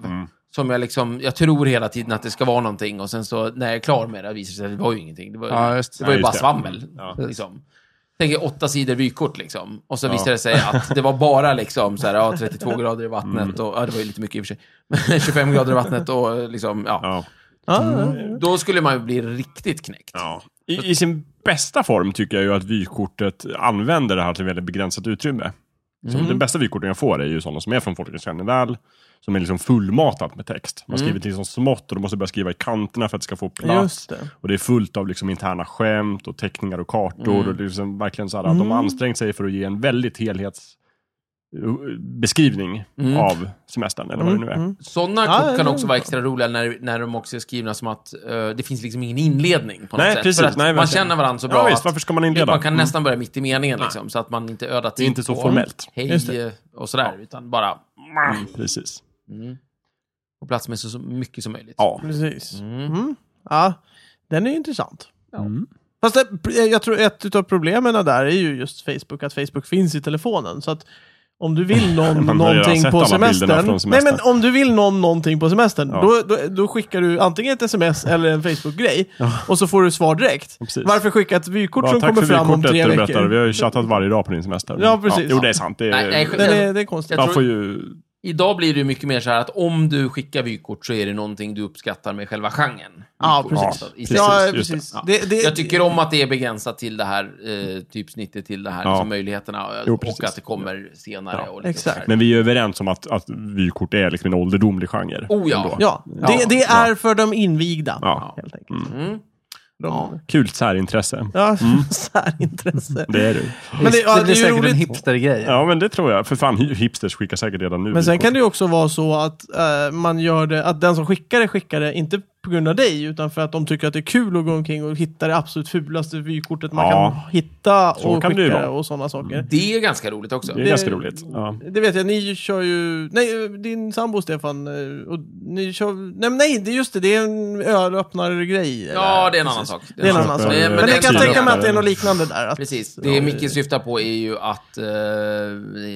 Som jag liksom, jag tror hela tiden att det ska vara någonting och sen så när jag är klar med det visar det sig att det var ju ingenting. Det var, Ja, just det. det var ju Ja, bara just det. Mm. svammel. Ja. Liksom. Tänk er åtta sidor vykort liksom. Och så visar det sig att det var bara liksom så här, ja, 32 grader i Mm. vattnet och, ja det var ju lite mycket i och för sig. Men 25 grader i vattnet och liksom, ja. Ja. Ja, Då skulle man ju bli riktigt knäckt. Ja. I, I sin bästa form tycker jag ju att vykortet använder det här till väldigt begränsat utrymme. Som Den bästa vykorten jag får är ju sådana som är från Folkets Kärneväl, som är liksom fullmatat med text. Man skriver till som smått och de måste börja skriva i kanterna för att det ska få plats. Just det. Och det är fullt av liksom interna skämt och teckningar och kartor. Mm. Och det är liksom verkligen så här, att De har ansträngt sig för att ge en väldigt helhetsbeskrivning Mm. av semestern, eller vad det nu är. Sådana Ja, kort kan det är också vara extra roliga när, när de också är skrivna som att eh, det finns liksom ingen inledning på något Nej, sätt. precis. För att Nej, man verkligen. känner varandra så bra Ja, visst, att varför ska man inleda? man kan Mm. nästan börja mitt i meningen liksom, så att man inte ödar tid inte så på formellt. Just hej det. och sådär, utan bara Mm. Precis. på plats med så, så mycket som möjligt. Ja. Precis. Mm. Ja, den är ju intressant. Fast det, jag tror ett av problemen där är ju just Facebook, att Facebook finns i telefonen. Så att om du vill någon Man har ju redan någonting sett på alla bilderna semestern. från Nej, semestern. men om du vill någon någonting på semestern, Ja. då, då, då skickar du antingen ett sms eller en Facebook-grej. Och så får du svar direkt. Precis. Varför skicka ett vykort Ja, som tack kommer för fram om vykortet tre du veckor? berättade. Vi har ju chattat varje dag på din semester. Ja, precis. jo, det är sant. Det är, Nej, nej, Det är, det är konstigt. Jag man tror- får ju Idag blir det ju mycket mer så här att om du skickar vykort så är det någonting du uppskattar med själva genren. Ja, Vykort. precis. Så, i sig. Ja, just det. precis. Ja. Det, det, Jag tycker om att det är begränsat till det här eh, typsnittet, till det här Ja. liksom, möjligheterna Jo, och precis. att det kommer senare. Ja. Och lite Exakt. så här. Men vi är överens om att, att vykort är liksom en ålderdomlig genre. Oh ja. Ändå. Ja, det, det är för de invigda. Ja. Helt enkelt. Mm. De, Kul särintresse. ja, särintresse. Det är du. Men det, ja, det Mm. blir är ju säkert roligt. en hipstergrej. Ja, men det tror jag. För fan, hi- hipsters skickar säkert redan nu Men sen vykort. kan det ju också vara så att eh, man gör det, att den som skickar det skickar det, inte på grund av dig, utan för att de tycker att det är kul att gå omkring och hitta det absolut fulaste vykortet man Ja. kan hitta Så och kan det ju skicka vara. Mm. och sådana saker. Det är ganska roligt också. Det är det- ganska roligt. Ja. Det vet jag, ni kör ju... Nej, eh, din sambo Stefan, eh, och ni kör... Nej, men nej, det är just det, det är en ölöppnare-grej. Ja, eller? det är en annan Precis. sak. Det är en annan sak. Det är- Men, eh, men det jag är kan en tänka mig att annan- det är något liknande där. Att, Precis. Det Micke syftar på är ju att eh,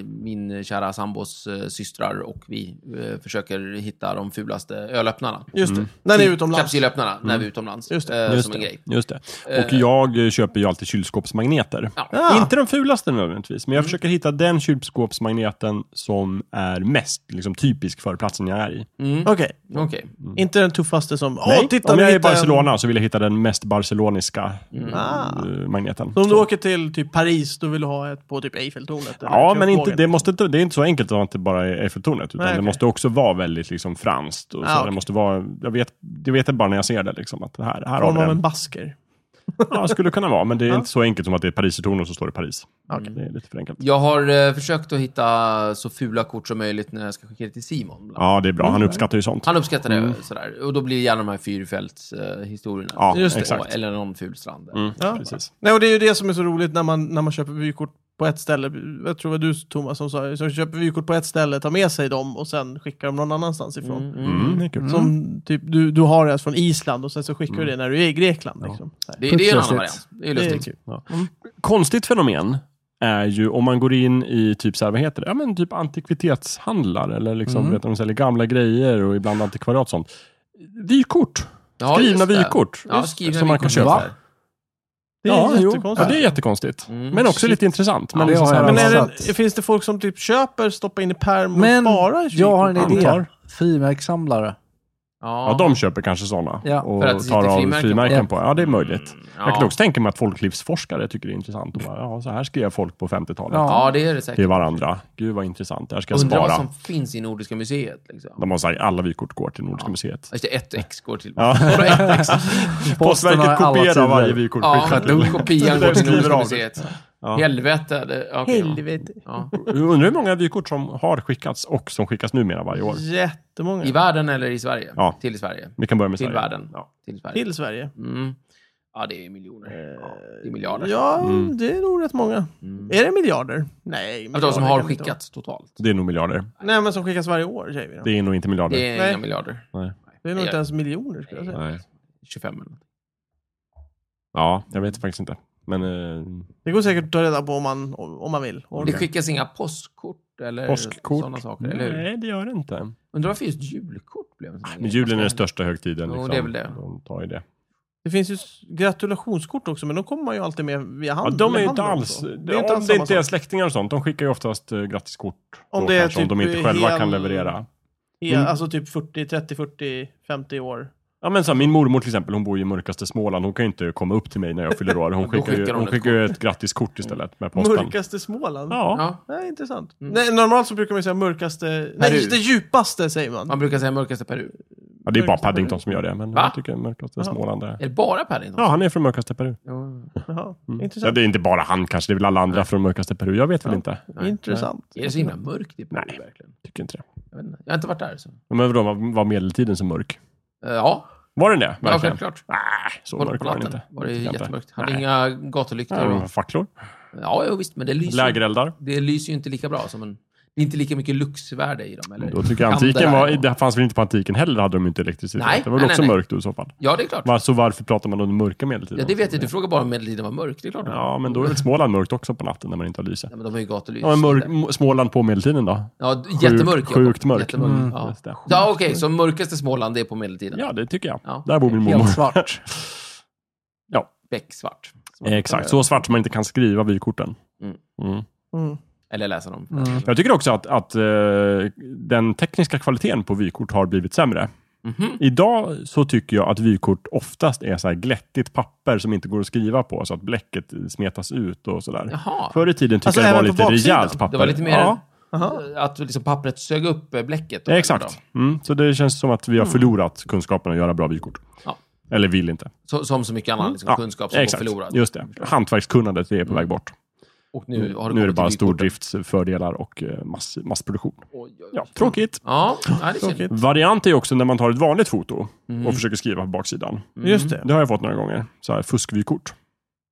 min kära sambos eh, systrar och vi eh, försöker hitta de fulaste ölöppnarna. Just det, Mm. när ni är utomlands. Kapsylöppnarna, när vi är utomlands. Just det. Eh, Just som det. en grej. Just det. Och jag eh, köper ju alltid kylskåpsmagneter. Ah. Ja. Ja. Mm. Inte de fulaste nödvändigtvis, men jag försöker hitta den kylskåpsmagneten som är mest liksom, typisk för platsen jag är i. Mm. Okej, Okej. inte den tuffaste som... Åh, Mm. Nej, titta, om nu jag är i hittade jag en- Barcelona så vill jag hitta den mest barceloniska eh, Ah. magneten. Så om du åker till typ Paris, då vill du ha ett på typ Eiffeltornet? eller Ja, men Kungsgården? inte, det, måste inte, det är inte så enkelt att det bara är Eiffeltornet, utan Nej, okej. det måste också vara väldigt liksom, franskt. Och så Ah, det okej. måste vara, jag, vet, jag vet det bara när jag ser det, liksom, att det här, här har Form vi av en den. basker. Ja, skulle kunna vara, men det är Ja. inte så enkelt som att det är Parisertornet och så står det Paris. Mm, Okej. Det är lite för enkelt. Jag har eh, försökt att hitta så fula kort som möjligt när jag ska skicka det till Simon. bland annat. Ja, det är bra. Han uppskattar ju sånt. Han uppskattar det. Sådär. Och då blir det gärna de här fyrfältshistorierna. Mm. Ja, Just det. exakt. Eller någon ful strand. Mm, Ja. Precis. Nej, och det är ju det som är så roligt när man, när man köper vykort på ett ställe. Jag tror det var du Thomas som sa som köper vykort på ett ställe, tar med sig dem och sen skickar dem någon annanstans ifrån. Mm. Mm. Mm, det är kul. Som typ, du, du har det från Island och sen så skickar du det när du är i Grekland. Liksom. Så här. Det, det är en annan Putslustigt. variant. Det är Det är lustigt. kul. Konstigt fenomen är ju om man går in i typ så här, vad heter det? Ja, men typ antikvitetshandlar eller liksom, vet du, de säljer gamla grejer och ibland antikvariat och sånt. Vykort. Ja, Skrivna just det. vykort. Ja, Just, skrivna som man kan vykort. köpa. Va? Det är ja, jo. ja, jättekonstigt. det är jättekonstigt. Mm. Men också Shit. lite intressant. Men det liksom har så här, jag Men är det, Satt. finns det folk som typ köper, stoppar in i pärm och Men sparar? jag har en vykort? idé. Antar. Frimärkssamlare. ja, de köper kanske sådana. Ja. Och För att det tar sitter av frimärken på. frimärken Ja. på. Ja, det är möjligt. Mm, Jag kan Ja. också tänka mig att folklivsforskare tycker det är intressant. Och bara, ja, så här skrev folk på 50-talet. Ja. ja, det är det till säkert. varandra. Gud vad intressant, det här ska jag Undrar vad spara. som finns i Nordiska museet. Liksom. De har sagt alla vykort går till Nordiska museet. Just det, ett ex går till... Ja. Vadå ett ex? Posten har Postverket alla kopierar tider. varje vykort. Ja, skickar till- kopian Där går till skriver Nordiska av. museet. Ja. Helvete. Det, okay, Helvete. Ja. Jag Undrar hur många vykort som har skickats och som skickas numera varje år. Jättemånga. I världen eller i Sverige? Ja. Till Sverige. Vi kan börja med Till Sverige. världen. Ja. Eh, Till Sverige. Till Sverige. Mm. Ja, det är miljoner. Ja, det är miljarder. Eh, Ja, Mm. det är nog rätt många. Mm. Är det miljarder? Nej, Alltså, miljarder de som har kan det inte skickats totalt. Det är nog miljarder. vara. Nej, men som skickas varje år säger vi. Då. Det, Det är nog inte miljarder. Det är Nej. inga miljarder. är nog det inte är- ens miljoner skulle jag säga. Nej. 25 eller något. Ja, jag vet faktiskt inte. Men eh, Det går säkert att ta reda på om man, om man vill. Det skickas inga postkort eller påskkort. sådana saker, eller hur? Nej, det gör det inte. Undrar varför just julkort blev en sån här Men grej. julen är den största högtiden. Jo, Liksom. det är väl det. De tar ju det. Det finns ju s- gratulationskort också, men de kommer man ju alltid med via Ja, hand. de är ju med inte handen alls... och så. Det är inte alls om det samma inte är sak. släktingar och sånt. De skickar ju oftast eh, grattiskort. Om då det är kanske, typ om de inte själva hel- kan leverera. Ja, Mm. Alltså typ 40, 30, 40, 50 år. Ja, men så, här, min mormor till exempel, hon bor ju i mörkaste Småland. Hon kan ju inte komma upp till mig när jag fyller år. Hon skickar, skickar ju, hon hon ett skickar ju ett grattiskort istället med posten. Mörkaste Småland? Ja. Ja. Nej, intressant. Mm. Nej, normalt så brukar man ju säga mörkaste... Nej, Peru. just det djupaste säger man. Man brukar säga mörkaste Peru. ja, det är bara Mörkaste Paddington som gör det. Men Va? jag tycker mörkaste Småland är... Är det bara Paddington? Ja, han är från mörkaste Peru. Jo. Jaha, Mm. Ja, intressant. det är inte bara han kanske, det är väl alla andra från mörkaste Peru. Jag vet väl inte. Intressant. Är det så himla mörkt i Peru Mm. Nej. verkligen? Tycker inte det. Jag, vet inte. jag har inte varit där. Så. Men vadå, var- var medeltiden så mörk? Eh, ja, Var den det? ja Verkligen? självklart. Nej, så Kolla mörk på var den natten. inte. Var det Tycker jag inte. jättemörkt. Hade Nej. inga Ja, gatulyktor. det och- var Facklor? Ja, jo, visst, men det lyser, ju- Lägereldar? det lyser ju inte lika bra som en... Det är inte lika mycket luxvärde i dem. Eller? Då tycker jag antiken Andra- var... Det fanns väl inte på antiken heller, hade de inte elektricitet. Nej, det var väl nej, också nej, nej. mörkt då i så fall. Ja, det är klart. Var, så varför pratar man om den mörka medeltiden? Ja, det vet jag. Du frågar bara om medeltiden var mörk. Det är klart. Ja, men då är väl Småland mörkt också på natten när man inte har lyse. Nej, men de har ju gatulys. Ja, men mörk, m- Småland på medeltiden då? Ja, jättemörk. Jakob. sjukt mörk. Jättemörk, Mm, ja, just det. ja okej. så mörkaste Småland, det är på medeltiden. Ja, det tycker jag. Ja. Där bor min mormor. Helt svart. Becksvart. Eh, Exakt, så svart som man inte kan skriva vykorten. Mm. Mm. Mm. Eller läsa dem. Mm. Jag tycker också att, att eh, den tekniska kvaliteten på vykort har blivit sämre. Mhm. Idag så tycker jag att vykort oftast är så här glättigt papper som inte går att skriva på, så att bläcket smetas ut och sådär. Jaha. Förr i tiden tyckte Alltså, jag det var även på lite baksidan? rejält papper. Det var lite mer Ja, Aha. att liksom pappret sög upp eh, bläcket. då, ja, eller exakt. Mm, så det känns som att vi Mm. har förlorat kunskapen att göra bra vykort. Ja. Eller vill inte. då. Så, som så mycket annan liksom, Ja, kunskap som går förlorad. Just det. Hantverkskunnandet är på väg bort. Och nu har det nu är det kommit bara till vykorten. stordriftsfördelar och eh, mass, massproduktion. Oj, oj, oj. Ja, tråkigt. Ja, nej, det är synd. Tråkigt. Variant är också när man tar ett vanligt foto Mm. och försöker skriva på baksidan. Mm. Just det. Det har jag fått några gånger. Så här, fuskvykort.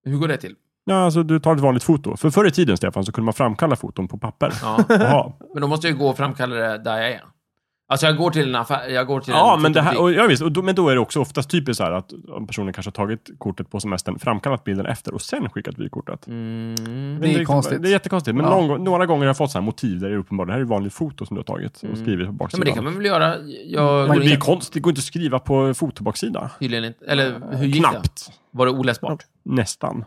Hur går det till? Ja, alltså du tar ett vanligt foto. För förr i tiden, Stefan, så kunde man framkalla foton på papper. Ja. Jaha. Men då måste jag ju gå och framkalla det där jag är. Alltså jag går till en affär, jag går till Ja, en men, det här, fotobutik. och, ja visst, och då, men då är det också oftast typiskt så här att personen kanske har tagit kortet på semestern, framkallat bilden efter och sen skickat vykortet. Mm. Men liksom, Det är konstigt. Det är jättekonstigt. Men Ja. någon, gång- några gånger har jag fått så här motiv där det är uppenbart. Det här är ett vanligt foto som du har tagit och skrivit på Mm. Ja, baksidan. men det kan man väl göra? Jag Men går det är in, konstigt, det går inte att skriva på fotobaksida. tydligen inte. Eller hur gick det? Knappt. Var det oläsbart? Nästan.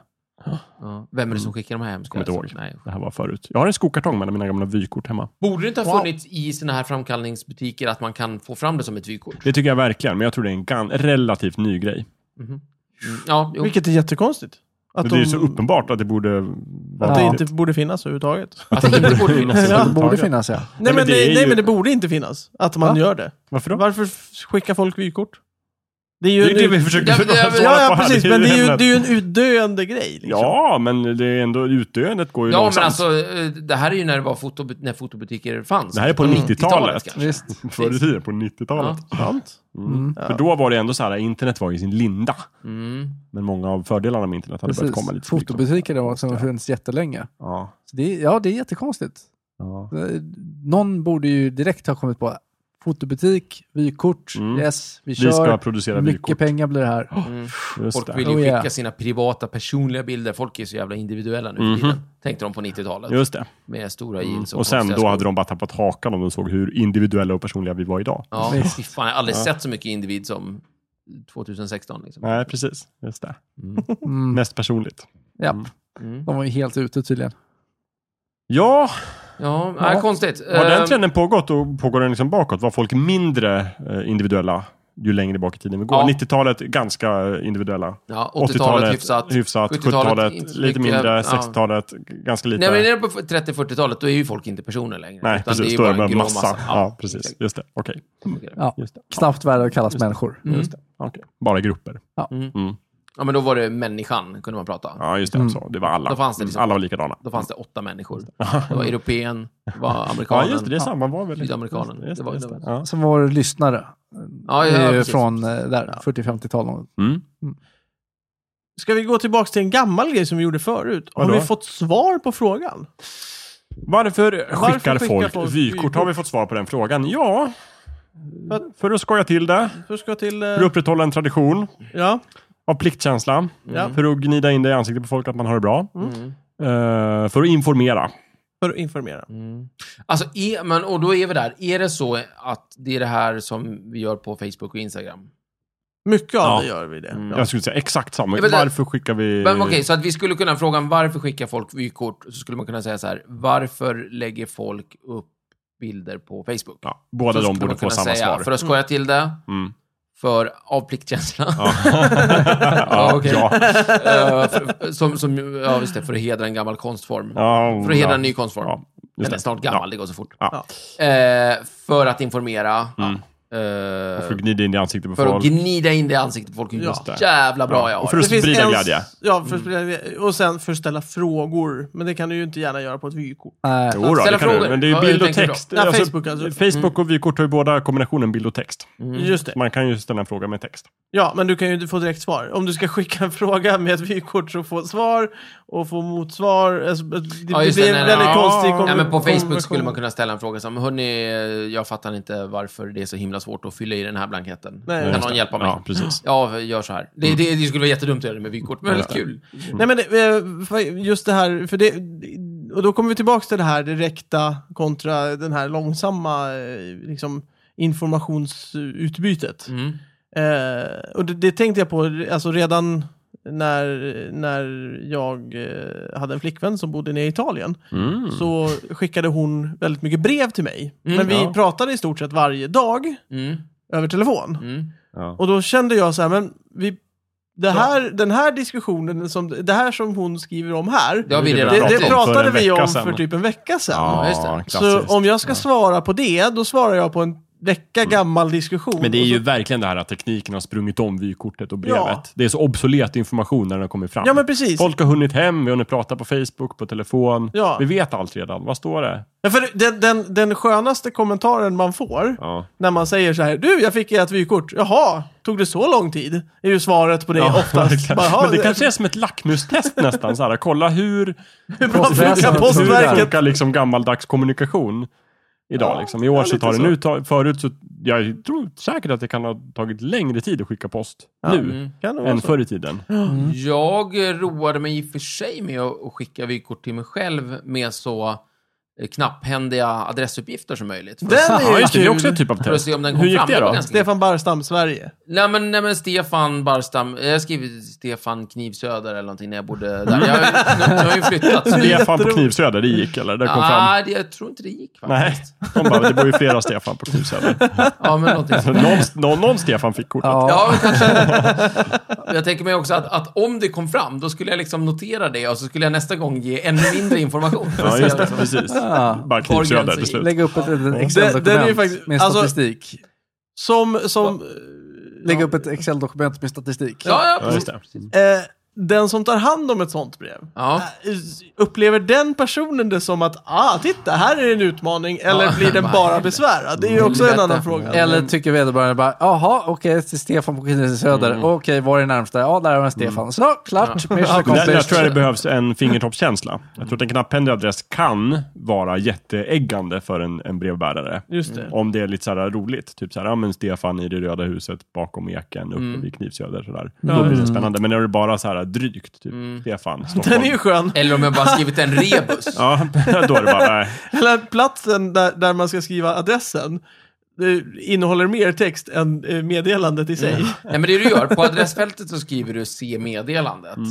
Ja. Vem är det som skickar de här hemska? Mm. Kommer inte ihåg. Nej. Det här var förut. Jag har en skokartong med mina gamla vykort hemma. Borde det inte ha funnits i såna här framkallningsbutiker att man kan få fram det som ett vykort? Det tycker jag verkligen, men jag tror det är en gan- relativt ny grej. Mm. Ja, jo. Vilket är jättekonstigt. Att Men det är ju de- så uppenbart att det borde vara... Att det Ja. inte borde finnas överhuvudtaget. Att Alltså, det inte borde finnas. Ja. Det borde finnas, ja. Nej, men, men det det, är nej ju- men det borde inte finnas att man Va? gör det. Varför då? Varför f- skickar folk vykort? Det är ju Det är en det ut- vi försöker Ja, men det är väl- svara ja, på ja här. precis. Men det är, ju, ämnet. det är ju en utdöende grej. Liksom. Ja, men det är ändå utdöendet går ju Ja, men långsamt. alltså, eh, det här är ju när det var foto, när fotobutiker fanns. Det här är på 90-talet 90-talet. kanske. Visst. Förr i tiden, på 90-talet. Sant. Mm. För då var det ändå så här, internet var i sin linda. Mm. Men många av fördelarna med internet hade börjat Precis. komma lite. Fotobutiker då, som har funnits jättelänge. Ja. Så det, är- ja, det är jättekonstigt. ja. Eh, Någon borde ju direkt ha kommit på fotobutik, vykort, Mm. yes, vi Vi ska kör. producera Mycket vykort. pengar blir det här. Mm. Just Folk det. vill ju Oh, yeah. skicka sina privata, personliga bilder. Folk är så jävla individuella nu Mhm. för tiden. Tänkte de på 90-talet. Just det. Med stora Mm. jeans och Och sen konstiga då skor. hade de bara tappat hakan om de såg hur individuella och personliga vi var idag. Ja, Visst. fy fan, jag har aldrig sett så mycket individ som 2016. Liksom. Nej, precis. Just det. Mm. Mest personligt. Japp. Mm. Mm. De var ju helt ute tydligen. Ja, Ja, nej, Ja. konstigt. har Eh, den trenden pågått och pågår den liksom bakåt? Var folk mindre eh, individuella ju längre bak i tiden vi går? Ja. 90-talet ganska eh, individuella. ja, 80-talet hyfsat. hyfsat 70-talet 70-talet inte så lite mycket. mindre. Ja. 60-talet g- ganska lite. Nej, men nere på 30-40-talet, då är ju folk inte personer längre. Nej, utan precis. ju Då är bara det bara en grå massa. Ja, precis. exakt. Just det. Okej. Ja. Just det. Knappt värda att kallas människor. Mm. Just det. Okej. Bara grupper. Ja, men då var det människan, kunde man prata om. Ja, just det. Mm. Så, det var alla. Då fanns det liksom- Alla var likadana. Då fanns det åtta människor. Det var europeen, det var Ja, amerikanen, just det. Det är samma. Man var väl... sydamerikanen. Just Det det, var- just det det. var- Ja. Som var lyssnare. Ja, Det ja, är ju precis. från eh, där, 40-50-tal. Mm. Ska vi gå tillbaka till en gammal grej som vi gjorde förut? Har Vadå? vi fått svar på frågan? Varför skickar skickar folk, folk vykort? vykort? Har vi fått svar på den frågan? Ja. För att- För att skoja till det. För att ska till... För att Eh, upprätthålla en tradition ja. av pliktkänsla. ja. För att gnida in det i ansiktet på folk att man har det bra. Mm. Eh, för att informera. För att informera. Mm. Alltså, är, men, och då är vi där. Är det så att det är det här som vi gör på Facebook och Instagram? Mycket av Ja. det gör vi det. Mm. Ja. Jag skulle säga exakt samma. Ja, men det- Varför skickar vi... Men okej, så att vi skulle kunna fråga varför skickar folk vykort? Så skulle man kunna säga så här, varför lägger folk upp bilder på Facebook? Ja, båda Så de skulle borde man få kunna samma säga, svar. För att skoja till det, Mm. för av pliktkänsla. Ja. ja, okej. ja. Eh, för, som, som, ja, just det, för att hedra en gammal konstform. Ja, För att hedra ja. en ny konstform. Ja, just Eller det. snart gammal, det går så fort. Ja. Eh, för att informera. Mm. eh, För att gnida in i ansiktet på för att folk. gnida in det i ansiktet på folk. Ja. Just det. Jävla bra jag Och har för det. att sprida glädje. Mm. Ja, för att sprida glädje. Och sen för att ställa frågor. Men det kan du ju inte gärna göra på ett vykort. Nej. Jo då, Ställa det kan du. frågor. Men det är ju Ja, bild hur och tänker du då? text. Ja, Facebook alltså. Facebook och vykort har ju båda kombinationen bild och text. Just det. Man kan ju ställa en fråga med text. Ja, men du kan ju inte få direkt svar. Om du ska skicka en fråga med ett vykort så få svar och få motsvar. Alltså, det, det just blir det, en nej, väldigt nej. konstig Ja, Ja, men på konversation. Facebook skulle man kunna ställa en fråga som, hörni, jag fattar inte varför det är så himla svårt att fylla i den här blanketten. Nej, kan just någon hjälpa mig? Ja, precis. Ja, gör så här. Det, det, det skulle vara jättedumt att göra det med vykort, men väldigt kul. Nej men det, eh, för- just det här, för det, och då kommer vi tillbaka till det här direkta kontra den här långsamma eh, liksom, informationsutbytet. Mm. Eh, och det, det tänkte jag på alltså redan när, när jag eh, hade en flickvän som bodde nere i Italien. Mm. Så skickade hon väldigt mycket brev till mig. Mm, men vi ja. pratade i stort sett varje dag Mm. över telefon. Mm. Ja. Och då kände jag så här, men vi, det här, den här diskussionen, som, det här som hon skriver om här, Det har vi Det- redan det, pratat det om om. för pratade en vi vecka om sedan. för typ en vecka sedan. Ja, just det. klassiskt. Mm. så om jag ska svara på det, då svarar jag på en vecka gammal diskussion. Men det är Och ju så, verkligen det här att tekniken har sprungit om vykortet och brevet. Ja. Det är så obsolet information när den har kommit fram. Ja, men precis. Folk har hunnit hem, vi har hunnit prata på Facebook, på telefon. Ja. Vi vet allt redan. Vad står det? Ja, för den, den, den skönaste kommentaren man får, Ja. när man säger så här, du jag fick ert vykort, jaha, tog det så lång tid? Är ju svaret på det oftast. verkligen. Bara, "Ja, men det kanske är som ett lackmustest nästan. Så här, kolla hur, hur bra funkar Postväsendet. hur postverket? funkar liksom gammaldags kommunikation idag. Ja, liksom. I år ja, så lite tar det så. nu, ta- förut så, jag tror säkert att det kan ha tagit längre tid att skicka post nu Mm. Kan det vara än så? förr i tiden. Jag roade mig i och för sig med att skicka vykort till mig själv med så eh, knapphändiga adressuppgifter som möjligt. För, Den Ja, är ju just det, det är också kul. en typ av för att test. se om den kom Hur gick fram. det var då? ganska- Stefan Barstam, Sverige. Nej men, nej men Stefan Barstam, jag har skrivit Stefan Knivsöder eller någonting när jag bodde där. Jag, nu, nu har jag ju flyttat. så det- Stefan på Knivsöder, det gick eller? Det kom fram. Ah, det, jag tror inte det gick Nej, faktiskt. de bara, det bor ju flera Stefan på Knivsöder. Ja, men någonting Så sånt. Någon, någon, någon Stefan fick kortet. Ja. Ja, men kanske. Jag tänker mig också att, att om det kom fram, då skulle jag liksom notera det och så skulle jag nästa gång ge ännu mindre information. Ja, just det. Precis. Ja. Bara Knivsöder till slut. Lägga upp ett litet Den- den är ju Excel-dokument faktiskt- med alltså- statistik. Som, som, Lägga upp ett Excel-dokument med statistik. Ja, ja, Ja, precis. just det. eh, den som tar hand om ett sånt brev, Ja. eh, upplever den personen det som att, ah, titta, här är en utmaning, eller Ja, blir den vad bara helvete. besvärad? Det är ju också en Helvete. annan fråga. Eller tycker vederbörande bara, jaha, okej, till Stefan på Kristinehamn Söder. Okej, var är närmsta? Ja, där har vi Stefan. Så, klart. Där, Mission där tror jag det accomplished. behövs en fingertoppskänsla. Jag tror att en knapphändig adress kan vara jätteäggande för en, en brevbärare. Just det. Om det är lite så här roligt. Typ så här, ja men Stefan i det röda huset bakom eken uppe vid Knivsöder. Så där. Då blir det spännande. Men när det är bara så här drygt, typ Stefan, Stockholm. Den är ju skön. Eller om jag bara skrivit en rebus. Ja, då är det bara, nej. Eller platsen där, där man ska skriva adressen eh, innehåller mer text än eh, meddelandet i sig. Nej, men det du gör, på adressfältet så skriver du se meddelandet. Mm.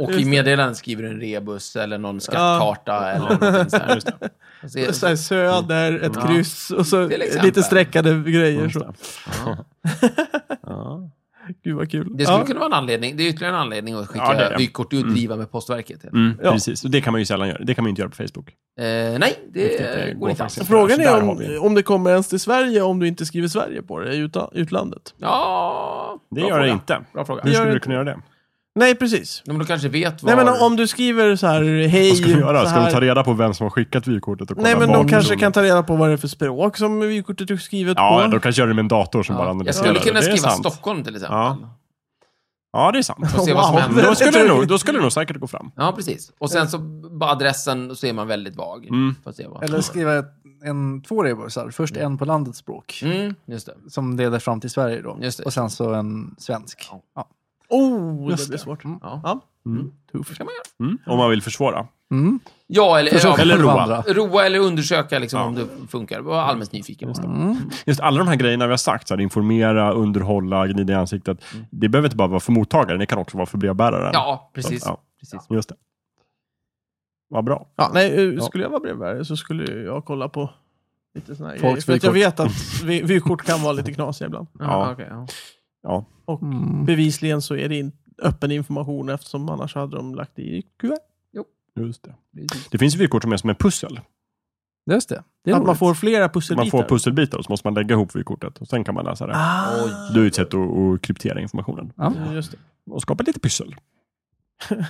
Och i meddelandet skriver du en rebus eller någon skattkarta eller någonting sånt. Just det. Och så är- Så här, söder, ett Ja. kryss och så Till exempel. lite streckade grejer. Så. Ja. Ja. Gud vad kul. Det skulle Ja. kunna vara en anledning. Det är ytterligare en anledning att skicka Ja, det är det. vykort och driva med Postverket. Mm, Ja. Precis, och det kan man ju sällan göra. Det kan man ju inte göra på Facebook. Eh, nej, det, Riktigt, det går går inte alls. faktiskt inte. Frågan Så där är har vi. om, om det kommer ens till Sverige om du inte skriver Sverige på det i uta- utlandet. Ja, Det bra gör fråga. det inte. Bra fråga. Hur gör skulle det du inte. kunna göra det? Nej, precis. Nej, men du kanske vet var... Nej, men om du skriver så här, hej. Vad ska du göra? Så Ska här, de ta reda på vem som har skickat vykortet och kolla Nej, men de bakgrunden? kanske kan ta reda på vad det är för språk som vykortet är skrivet Ja, på. de kanske gör det med en dator som bara ja. Jag analyserar skulle kunna det. Det är skriva sant. Stockholm till exempel. Ja. Ja, det är sant. Och se vad som Wow. händer. Då skulle, det nog, då skulle det nog säkert gå fram. mm, Ja, precis. Och sen så bara adressen, så är man väldigt vag. Mm. Får se vad... Eller skriva ett, en, två rebusar. Först en på landets språk, Mm, just det. som leder fram till Sverige då. Just det. Och sen så en svensk. Ja. Ja. Oh, det Just blir det. svårt. Mm. Ja. Ja. Det kan man göra. Mm. Om man vill försvåra. Mm. Ja, eller... Försök ja, Eller roa. förvandla. Roa eller undersöka liksom, om det funkar. Var allmänt nyfiken. bara. Mm. Just alla de här grejerna vi har sagt, så här, informera, underhålla, gnida i ansiktet. Det behöver inte bara vara för mottagaren, det kan också vara för brevbäraren. Mm. Ja, precis. Ja. precis. Just det. Vad bra. Ja, nej, eh, skulle jag vara brevbärare så skulle jag kolla på lite såna här grejer. Folks För att jag vykort. vet att vy- vykort kan vara lite knasiga ibland. Ja, Ja. okej, ja. Ja. Och Mm. bevisligen så är det in- öppen information eftersom annars hade de lagt det i kuvert. Just det. Precis. det finns ju vykort som är som en pussel. Just det. det är Att man roligt. får flera Man pusselbitar. får pusselbitar och så måste man lägga ihop vykortet och sen kan man läsa det. ah, Det är ett sätt att, att kryptera informationen Ja, just det. och skapa lite pyssel.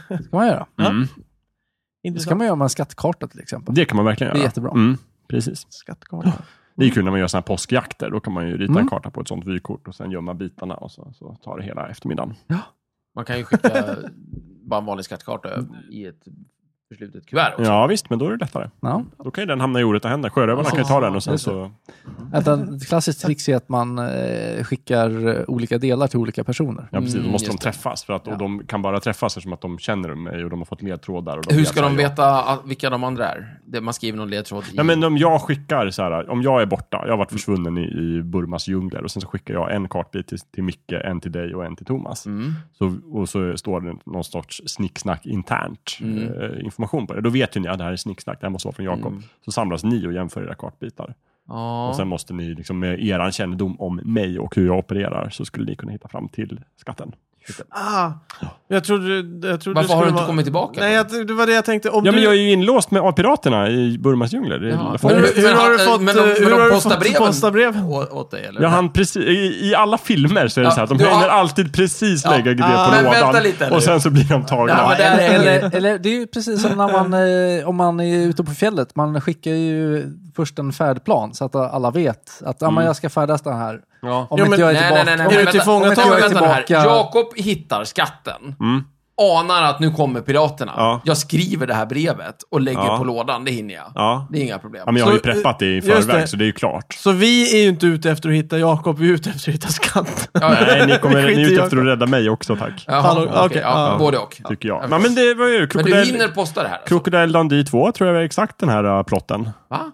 det ska man göra. Ja. Mm. Det ska Intressant. man göra med en skattkarta till exempel. Det kan man verkligen Det är göra. jättebra. Mm, precis. Skattkarta. Det är kul när man gör såna här påskjakter. Då kan man ju rita Mm. en karta på ett sånt vykort och sen gömma bitarna och så, så tar det hela eftermiddagen. Man kan ju skicka bara en vanlig skattkarta Mm. i ett förslutet kuvert också. Ja visst, men då är det lättare. Ja. Då kan ju den hamna i orätta händer. Sjörövarna kan ju ta den och sen så... Att en- Ett klassiskt trick är att man eh, skickar eh, olika delar till olika personer. Ja precis, då Mm, måste de just träffas. För att, och de kan bara träffas eftersom att de känner mig och de har fått ledtrådar. Och Hur vet ska så de här, jag- veta att- vilka de andra är? Det- Man skriver någon ledtråd i... Ja, men om jag skickar så här, om jag är borta, jag har varit försvunnen i, i Burmas djungler och sen så skickar jag en kartbit till, till Micke, en till dig och en till Thomas. Mm. Så, och så står det någon sorts snicksnack internt Mm. eh, information på det. Då vet ju ni att det här är snicksnack, det här måste vara från Jakob. Mm. Så samlas ni och jämför era kartbitar. Ja. Och sen måste ni liksom med er kännedom om mig och hur jag opererar så skulle ni kunna hitta fram till skatten. Ah, jag trodde, jag trodde Varför det har du skulle inte vara- kommit tillbaka? Nej, jag, det var det jag tänkte. Om Ja, du... men jag är ju inlåst med piraterna i Burmas djungler. Det är Jaha. fången. hur, hur har du Men- fått, men men de- men hur de har du postar fått breven. posta breven? Å- åt dig, eller? Ja, han precis, i, I alla filmer så är det Ja, så här att de du har- hinner alltid precis Ja. lägga det Ah. på Men vänta lådan lite nu. och sen så blir de tagna. Ja, men det här är- eller, eller det är ju precis som när man, eh, om man är ute på fjället. Man skickar ju först en färdplan så att alla vet att ah, men Mm. jag ska färdas den här. Ja. Om Jo, inte men- jag är Nej, nej, tillbaka. nej, nej. om Är du inte- vänta, om inte tillfångatagen? jag är vänta, vänta här. tillbaka- Jakob hittar skatten. Mm. Anar att nu kommer piraterna. Ja. Jag skriver det här brevet och lägger Ja. på lådan. Det hinner jag. Ja. Det är inga problem. ja, men jag har ju Så, preppat det i just förväg det. så det är ju klart. Så vi är ju inte ute efter att hitta Jakob, vi är ute efter att hitta skatten. Ja, ja. Nej, ni, kommer, ni Skit i är ute Jakob. efter att rädda mig också tack. Jaha, Hallå, okej, okej, ja, ja. Både och. Tycker Ja, jag. Ja, men det var ju Men du Crocodile, hinner posta det här? Alltså. Crocodile Dundee 2 tror jag är exakt den här äh, plotten. Va?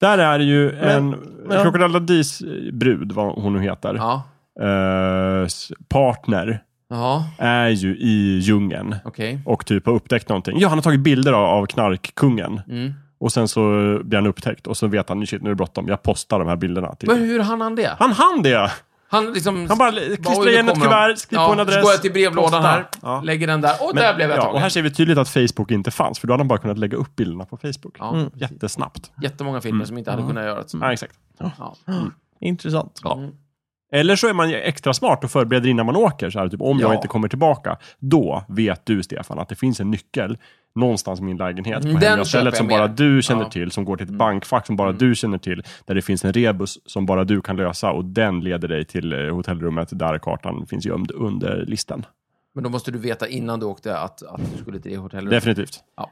Där är ju en... ja. Crocodile Dundees äh, brud, vad hon nu heter, Ja. eh, s- partner Ja, är ju i djungeln okej. och typ har upptäckt någonting. Ja, han har tagit bilder av, av knarkkungen. Mm. Och sen så blir han upptäckt och så vet han, shit nu är det bråttom, jag postar de här bilderna. Till. Men hur hann han det? Han hann det! Han liksom... Han bara Oj, klistrar nu igen ett kommer de. kuvert, skriv Ja, på en Så adress. går jag till brevlådan posta. här, Ja. lägger den där. Och Men- där blev jag ja, Och tagen. här ser vi tydligt att Facebook inte fanns, för då hade han bara kunnat lägga upp bilderna på Facebook. Ja, Mm. precis. Jättesnabbt. Jättemånga filmer Mm. som inte hade kunnat göra det. Ja, exakt. Ja. Mm. Intressant. Eller så är man ju extra smart och förbereder innan man åker. Så här, typ, om Ja. jag inte kommer tillbaka, då vet du Stefan att det finns en nycel någonstans i min lägenhet på Mm, den hemliga köper stället jag som mer. bara du känner Ja. till, som går till ett bankfack som bara du känner till, där det finns en rebus som bara du kan lösa och den leder dig till eh, hotellrummet där kartan finns gömd under listan. Men då måste du veta innan du åkte att, att du skulle till det hotellet. Definitivt. Ja.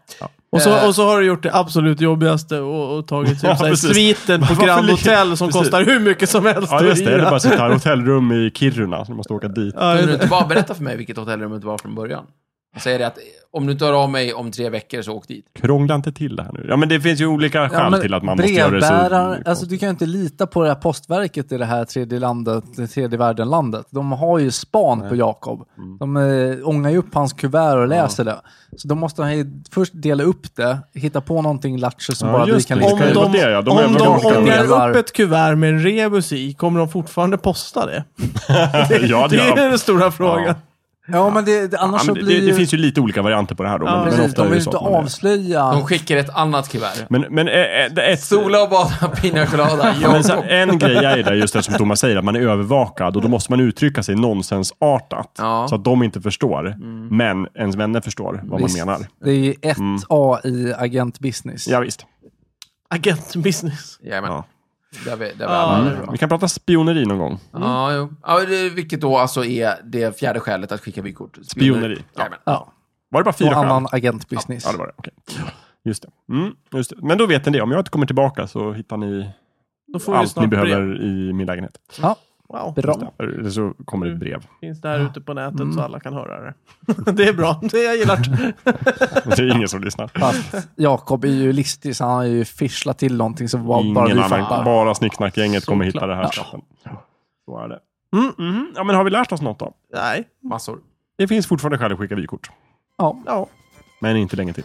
Och så, Eh. och så har du gjort det absolut jobbigaste och, och tagit typ Ja, såhär, precis. sviten på Varför Grand ligger- Hotel som Precis. kostar hur mycket som helst Ja, att just det. Det är hyra. bara så här hotellrum i Kiruna, så du måste åka dit. Ja, Kunde just du det. inte bara berätta för mig vilket hotellrum det var från början? Jag säger det att eh, om du inte hör av mig om tre veckor så åk dit. Krångla inte till det här nu. Ja, men det finns ju olika skäl men till att man måste göra det brevbäraren- så... Alltså, du kan ju inte lita på det här postverket i det här tredje, landet, det tredje världen-landet. De har ju span på Jakob. Mm. De eh, ångar ju upp hans kuvert och läser det. Så då måste han ju först dela upp det, hitta på någonting lattjo som Ja, bara vi just kan det. Om Det kan ju de, vara det, ja. De om de övervakar. ångar Delar. upp ett kuvert med en rebus i, kommer de fortfarande posta det? ja, Det det är gör den stora frågan. Ja, men det, det, Ja, annars så men Alltså, blir det, det ju... finns ju lite olika varianter på det här då. men, Precis, men ofta de är det vill så inte att man är- avslöja. De skickar ett annat kuvert. Men, men eh, eh, det- ett, Sola och bada, pina colada, ja, men så, Jakob. här, en grej är det just det som Thomas säger, att man är övervakad och då måste man uttrycka sig nonsensartat. Ja. Så att de inte förstår, men ens vänner förstår vad Visst. man menar. Mm. Det är ju ett A i agentbusiness. Ja, visst. Agentbusiness. Jajamän. Ja. Där vi, där vi Ja. alla är. Vi kan prata spioneri någon gång. Ja, jo. Ja, det, vilket då alltså är det fjärde skälet att skicka vykort. Spioneri. Ja. Jajamän. Ja, Var det bara fyra och skäl? annan agentbusiness. Ja, det var det. Okej. Just, det. Mm, just det. Men då vet ni det. Om jag inte kommer tillbaka så hittar ni Då får vi allt ni snart brev. behöver i min lägenhet. Ja, Wow. bra. Eller så kommer det ett brev. Finns det här ute på nätet Mm. så alla kan höra det. det är bra, det jag gillar Det är ingen som lyssnar. Fast Jakob är ju listig så han har ju fischlat till någonting som bara, bara Ingen vi annan. fattar. Bara snicksnackgänget kommer hitta det här chatten. Så är det. Mm, mhm. Ja, men har vi lärt oss något då? Nej, Massor. Det finns fortfarande skäl att skicka vykort. Ja. ja. Men inte länge till.